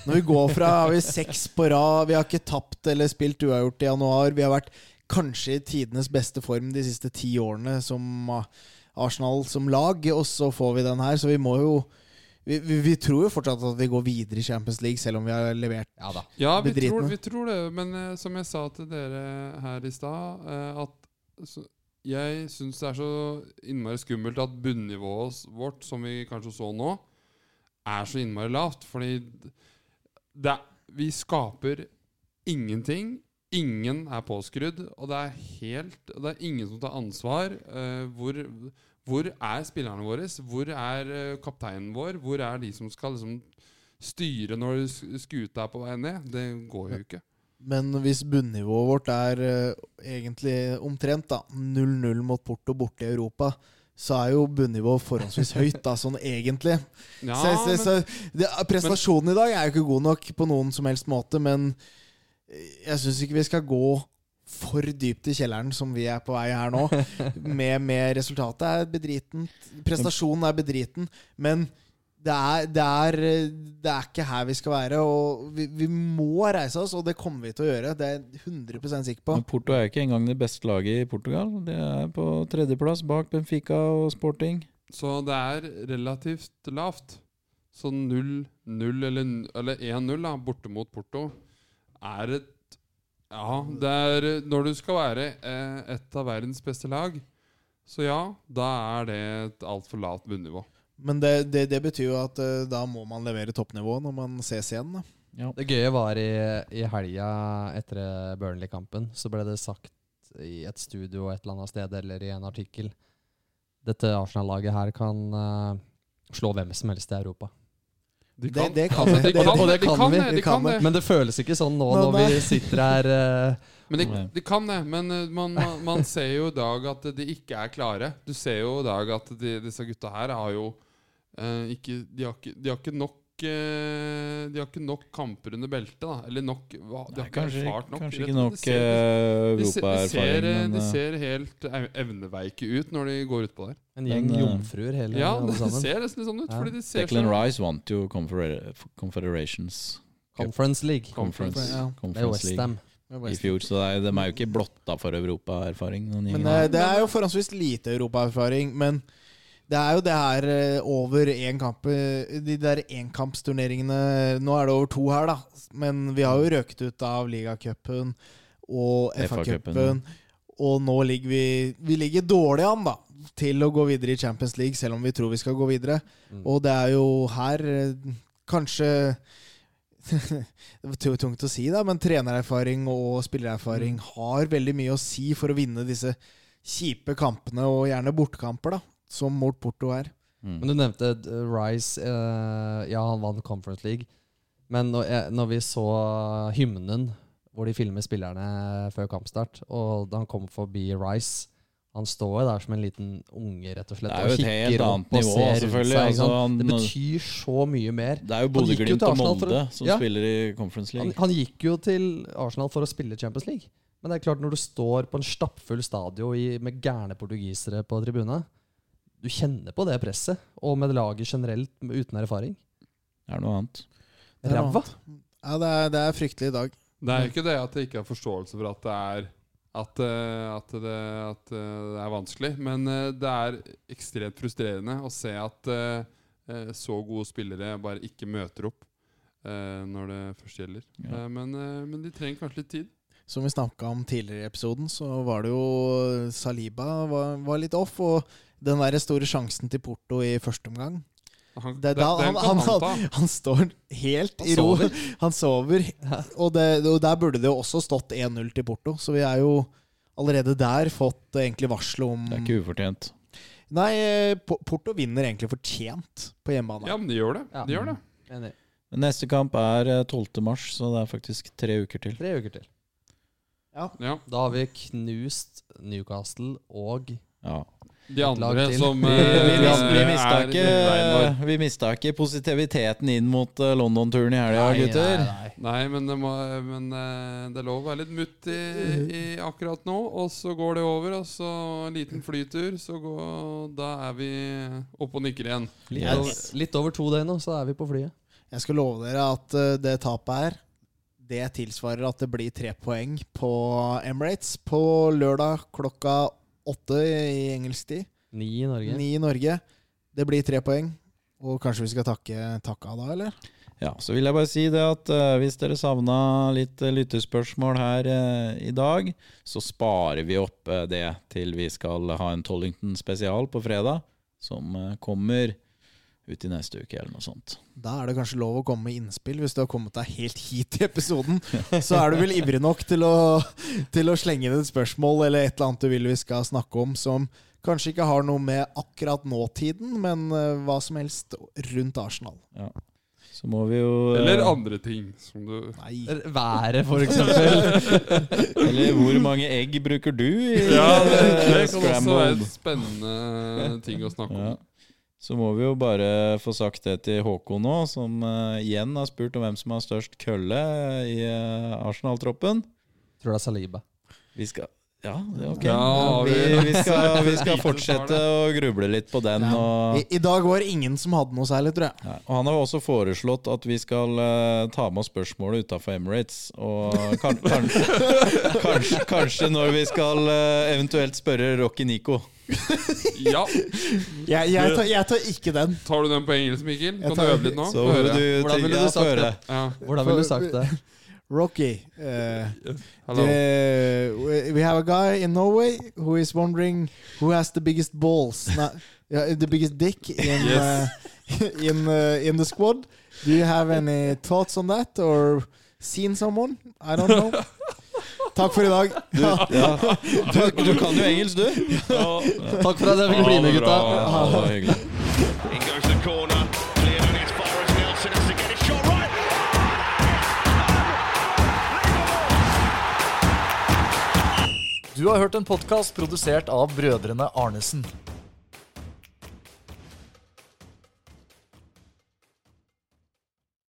[SPEAKER 3] når vi går fra har vi seks på rad, vi har ikke tapt eller spilt uavgjort i januar. Vi har vært kanskje i tidenes beste form de siste ti årene som ah, Arsenal som lag, og så får vi den her. Så vi må jo vi, vi, vi tror jo fortsatt at vi går videre i Champions League, selv om vi har levert
[SPEAKER 2] Ja da.
[SPEAKER 1] Ja, vi
[SPEAKER 3] Bedriten.
[SPEAKER 1] tror, vi tror det. Men eh, som jeg sa til dere her i stad, eh, at så, jeg syns det er så innmari skummelt at bunnivået oss- vårt, som vi kanskje så nå, er så innmari lavt. Fordi det, vi skaper ingenting. Ingen er påskrudd, og det er helt Det er ingen som tar ansvar. Eh, hvor, hvor er spillerne våre? Hvor er eh, kapteinen vår? Hvor er de som skal liksom styre når sk- skuta er på vei ned. Det går jo ikke.
[SPEAKER 3] Men hvis bunnivået vårt er eh, egentlig omtrent da, 0-0 mot Porto borte i Europa, så er jo bunnivået forholdsvis høyt, da, sånn egentlig.
[SPEAKER 1] Ja,
[SPEAKER 3] så, så, så, det, prestasjonen i dag er jo ikke god nok på noen som helst måte, men jeg syns ikke vi skal gå for dypt i kjelleren, som vi er på vei her nå. Med, med resultatet er bedritent. Prestasjonen er bedriten, men det er, det, er, det er ikke her vi skal være. Og vi, vi må reise oss, og det kommer vi til å gjøre. Det er jeg 100 sikker på.
[SPEAKER 4] Men Porto er jo ikke engang det beste laget i Portugal. De er på tredjeplass bak Benfica og Sporting.
[SPEAKER 1] men, så det er relativt lavt. Så 0-0 eller, n- eller 1-0 da, borte mot Porto er et Ja, det er Når du skal være eh, et av verdens beste lag, så ja, da er det et altfor lavt bunnivå.
[SPEAKER 3] Men det, det, det betyr jo at eh, da må man levere toppnivået når man ses igjen. Da.
[SPEAKER 2] Det gøye var i, i helga etter Burnley-kampen, så ble det sagt i et studio et eller annet sted, eller i en artikkel Dette Arsenal-laget her kan eh, slå hvem som helst i Europa.
[SPEAKER 1] De
[SPEAKER 3] Det,
[SPEAKER 1] kan-
[SPEAKER 3] det kan
[SPEAKER 1] de
[SPEAKER 3] vi. Det,
[SPEAKER 1] kan
[SPEAKER 2] og
[SPEAKER 1] det,
[SPEAKER 2] det
[SPEAKER 1] de
[SPEAKER 2] kan
[SPEAKER 1] kan
[SPEAKER 2] vi,
[SPEAKER 1] det,
[SPEAKER 3] vi
[SPEAKER 1] de kan
[SPEAKER 3] kan
[SPEAKER 1] det.
[SPEAKER 2] Men det føles ikke sånn nå
[SPEAKER 3] Nå,
[SPEAKER 2] når
[SPEAKER 3] nei.
[SPEAKER 2] vi sitter her eh,
[SPEAKER 1] Men de,
[SPEAKER 4] Nei.
[SPEAKER 1] de kan det, men eh, man, man, man ser jo i dag at de ikke er klare. Du ser jo i dag at de, disse gutta her har jo eh, ikke, de har ikke De har ikke nok eh, De har ikke nok kamper under beltet, da. Eller nok hva- De har ikke
[SPEAKER 4] kanskje,
[SPEAKER 1] erfart nok.
[SPEAKER 4] kanskje
[SPEAKER 1] rett
[SPEAKER 4] ikke
[SPEAKER 1] og
[SPEAKER 4] nok
[SPEAKER 1] slett. De ser- de ser,
[SPEAKER 4] eh,
[SPEAKER 1] de, ser,
[SPEAKER 4] europaerfaring,
[SPEAKER 1] eh,
[SPEAKER 4] men
[SPEAKER 1] de
[SPEAKER 4] eh,
[SPEAKER 1] ser helt ev- evneveike ut når de går utpå der.
[SPEAKER 2] en gjeng
[SPEAKER 4] Men, eh,
[SPEAKER 2] jomfruer hele
[SPEAKER 1] Ja,
[SPEAKER 2] alle
[SPEAKER 1] det
[SPEAKER 2] sammen.
[SPEAKER 1] ser nesten litt sånn ut.
[SPEAKER 2] Ja.
[SPEAKER 1] Fordi de ser
[SPEAKER 4] Declan
[SPEAKER 1] så-
[SPEAKER 4] Rice vant jo Confedera- Confederations
[SPEAKER 2] Conference League.
[SPEAKER 4] Conference,
[SPEAKER 3] ja.
[SPEAKER 2] Det er
[SPEAKER 4] Conference League
[SPEAKER 2] Westham.
[SPEAKER 4] i fjor, så det er, de er jo ikke blotta for europaerfaring. noen
[SPEAKER 3] Men
[SPEAKER 4] gjengen.
[SPEAKER 3] eh, det er jo forholdsvis lite europaerfaring. Men det er jo det her eh, over én kamp eh, De der enkampsturneringene Nå er det over to her, da. Men vi har jo røket ut av ligacupen og
[SPEAKER 4] FA-cupen,
[SPEAKER 3] FA-cupen. Og nå ligger vi Vi ligger dårlig an, da. Til å gå videre i Champions League, selv om vi tror vi skal gå videre. Og det er jo her eh, kanskje Det var tungt å si, da, men trenererfaring og spillererfaring har veldig mye å si for å vinne disse kjipe kampene, og gjerne bortekamper, da, som mot Porto er.
[SPEAKER 4] Mm.
[SPEAKER 2] Men du nevnte eh, Rice. eh, ja, han vant Conference League. Men når, jeg, når vi så hymnen hvor de filmer spillerne før kampstart, og da han kom forbi Rice Han står jo der som en liten unge, rett og slett.
[SPEAKER 4] Det er
[SPEAKER 2] og
[SPEAKER 4] jo et
[SPEAKER 2] kikker
[SPEAKER 4] helt
[SPEAKER 2] opp
[SPEAKER 4] annet
[SPEAKER 2] og
[SPEAKER 4] nivå,
[SPEAKER 2] ser rundt
[SPEAKER 4] selvfølgelig,
[SPEAKER 2] seg, ikke sant?
[SPEAKER 4] altså, han-
[SPEAKER 2] det betyr så mye mer.
[SPEAKER 4] Det
[SPEAKER 2] Han
[SPEAKER 4] er jo
[SPEAKER 2] gikk jo
[SPEAKER 4] Bodø-Glimt
[SPEAKER 2] til
[SPEAKER 4] og
[SPEAKER 2] Arsenal for å-
[SPEAKER 4] Molde som
[SPEAKER 2] Ja.
[SPEAKER 4] spiller i Conference
[SPEAKER 2] Han,
[SPEAKER 4] League.
[SPEAKER 2] han gikk jo til Arsenal for å spille Champions League. Men det er klart, når du står på en stappfull stadion i, med gærne portugisere på tribunen Du kjenner på det presset, og med laget generelt med- uten erfaring.
[SPEAKER 4] Det er noe annet.
[SPEAKER 3] Det er noe
[SPEAKER 2] Ræva.
[SPEAKER 3] Ja, det er, det er fryktelig i dag.
[SPEAKER 1] Det er jo ikke det at jeg ikke har forståelse for at det er at, eh, at, det, at eh, det er vanskelig, men eh, det er ekstremt frustrerende å se at eh, eh, så gode spillere bare ikke møter opp eh, når det først gjelder.
[SPEAKER 4] Ja.
[SPEAKER 1] Eh, Men, eh, men de trenger kanskje litt tid.
[SPEAKER 3] Som vi snakka om tidligere i episoden, så var det jo eh, Saliba var, var litt off. Og den der store sjansen til Porto i første omgang
[SPEAKER 1] Han,
[SPEAKER 3] Det er da
[SPEAKER 1] den
[SPEAKER 3] han,
[SPEAKER 1] kan
[SPEAKER 3] han,
[SPEAKER 1] ta.
[SPEAKER 3] han, står helt i ro. Han sover. Og, det, og der burde det jo også stått 1-0 til Porto, så vi er jo allerede der fått eh, egentlig varsel om
[SPEAKER 4] Det er ikke ufortjent.
[SPEAKER 3] Nei, eh, Po- Porto vinner egentlig fortjent på hjemmebane.
[SPEAKER 1] Ja, men de gjør det.
[SPEAKER 2] Ja.
[SPEAKER 1] De gjør det.
[SPEAKER 2] Enig.
[SPEAKER 4] Neste kamp er eh, 12. mars, så det er faktisk tre uker til.
[SPEAKER 2] Tre uker til.
[SPEAKER 1] Ja.
[SPEAKER 2] Da har vi knust Newcastle og
[SPEAKER 4] Ja.
[SPEAKER 1] De andre
[SPEAKER 2] lag til.
[SPEAKER 1] som
[SPEAKER 4] Vi, vi, mis- vi,
[SPEAKER 1] eh,
[SPEAKER 4] mista
[SPEAKER 1] er-
[SPEAKER 4] ikke, vi mista ikke positiviteten inn mot eh, London-turen i helga, gutter.
[SPEAKER 1] Nei, men, det, må, men eh, det er lov å være litt mutt i, i akkurat nå. Og så går det over, og så en liten flytur, så går, da er vi oppe og nikker igjen.
[SPEAKER 2] Litt,
[SPEAKER 4] Yes.
[SPEAKER 2] over, litt over to døgn nå, så er vi på flyet.
[SPEAKER 3] Jeg skal love dere at eh, det tapet her, det tilsvarer at det blir tre poeng på Emirates på lørdag klokka åtte i engelsk tid.
[SPEAKER 2] Ni i Norge.
[SPEAKER 3] Ni i Norge. Det blir tre poeng. Og kanskje vi skal takke takka da, eller?
[SPEAKER 4] Ja, så vil jeg bare si det at eh, hvis dere savna litt eh, lyttespørsmål her eh, i dag, så sparer vi opp eh, det til vi skal ha en Tollington spesial på fredag, som eh, kommer ut i neste uke eller noe sånt.
[SPEAKER 3] Da er det kanskje lov å komme med innspill hvis du har kommet deg helt hit i episoden. Så er du vel ivrig nok til å, til å slenge inn et spørsmål eller et eller annet du vil vi skal snakke om som kanskje ikke har noe med akkurat nåtiden, men eh, hva som helst rundt Arsenal.
[SPEAKER 4] Så må vi jo eh,
[SPEAKER 1] Eller andre ting som du
[SPEAKER 3] Nei.
[SPEAKER 2] Været, for eksempel.
[SPEAKER 4] Eller hvor mange egg bruker du i
[SPEAKER 1] Ja, det, det kan også være
[SPEAKER 4] scrambled?
[SPEAKER 1] en spennende ting å snakke
[SPEAKER 4] Ja.
[SPEAKER 1] om.
[SPEAKER 4] Så må vi jo bare få sagt det til Håkon nå, som eh, igjen har spurt om hvem som har størst kølle i eh, Arsenal-troppen.
[SPEAKER 2] Tror det er Saliba.
[SPEAKER 4] Vi skal Ja, det er ok.
[SPEAKER 1] Ja,
[SPEAKER 4] vi,
[SPEAKER 1] vi-
[SPEAKER 4] vi, skal, vi skal fortsette å gruble litt på den.
[SPEAKER 3] I,
[SPEAKER 4] Og,
[SPEAKER 3] I dag var det ingen som hadde noe særlig, tror jeg.
[SPEAKER 4] Nei, og han har jo også foreslått at vi skal eh, ta med oss spørsmålet utafor Emirates. Og kan, kanskje, kanskje, kanskje når vi skal eh, eventuelt spørre Rocky Nico.
[SPEAKER 1] Ja,
[SPEAKER 3] Jeg, jeg, tar, jeg tar ikke den.
[SPEAKER 1] Tar du den på engelsk, Mikkel?
[SPEAKER 3] Jeg
[SPEAKER 1] Kan du
[SPEAKER 3] tar-
[SPEAKER 1] øve litt nå?
[SPEAKER 4] Så
[SPEAKER 1] Få
[SPEAKER 4] vil
[SPEAKER 1] høre.
[SPEAKER 4] du,
[SPEAKER 2] Hvordan ville
[SPEAKER 4] ja,
[SPEAKER 2] du
[SPEAKER 4] få
[SPEAKER 2] sagt
[SPEAKER 4] høre.
[SPEAKER 2] det?
[SPEAKER 1] Ja.
[SPEAKER 2] Hvordan ville du sagt det?
[SPEAKER 3] Rocky. eh,
[SPEAKER 1] Hello.
[SPEAKER 3] Uh, we- we have a guy in Norway who is wondering who has the biggest balls, not, uh, the biggest dick in
[SPEAKER 1] Yes.
[SPEAKER 3] uh, in uh, in the squad. Do you have any thoughts on that or seen someone? I don't know. Takk for i dag.
[SPEAKER 4] Ja. Du, du kan jo engelsk, du.
[SPEAKER 2] Takk for at jeg fikk bli med, gutta.
[SPEAKER 4] Ja, det var hyggelig.
[SPEAKER 9] In goes the corner, cleared on as far as Nelson has to get his shot right.
[SPEAKER 10] Du har hørt en podkast produsert av brødrene Arnesen.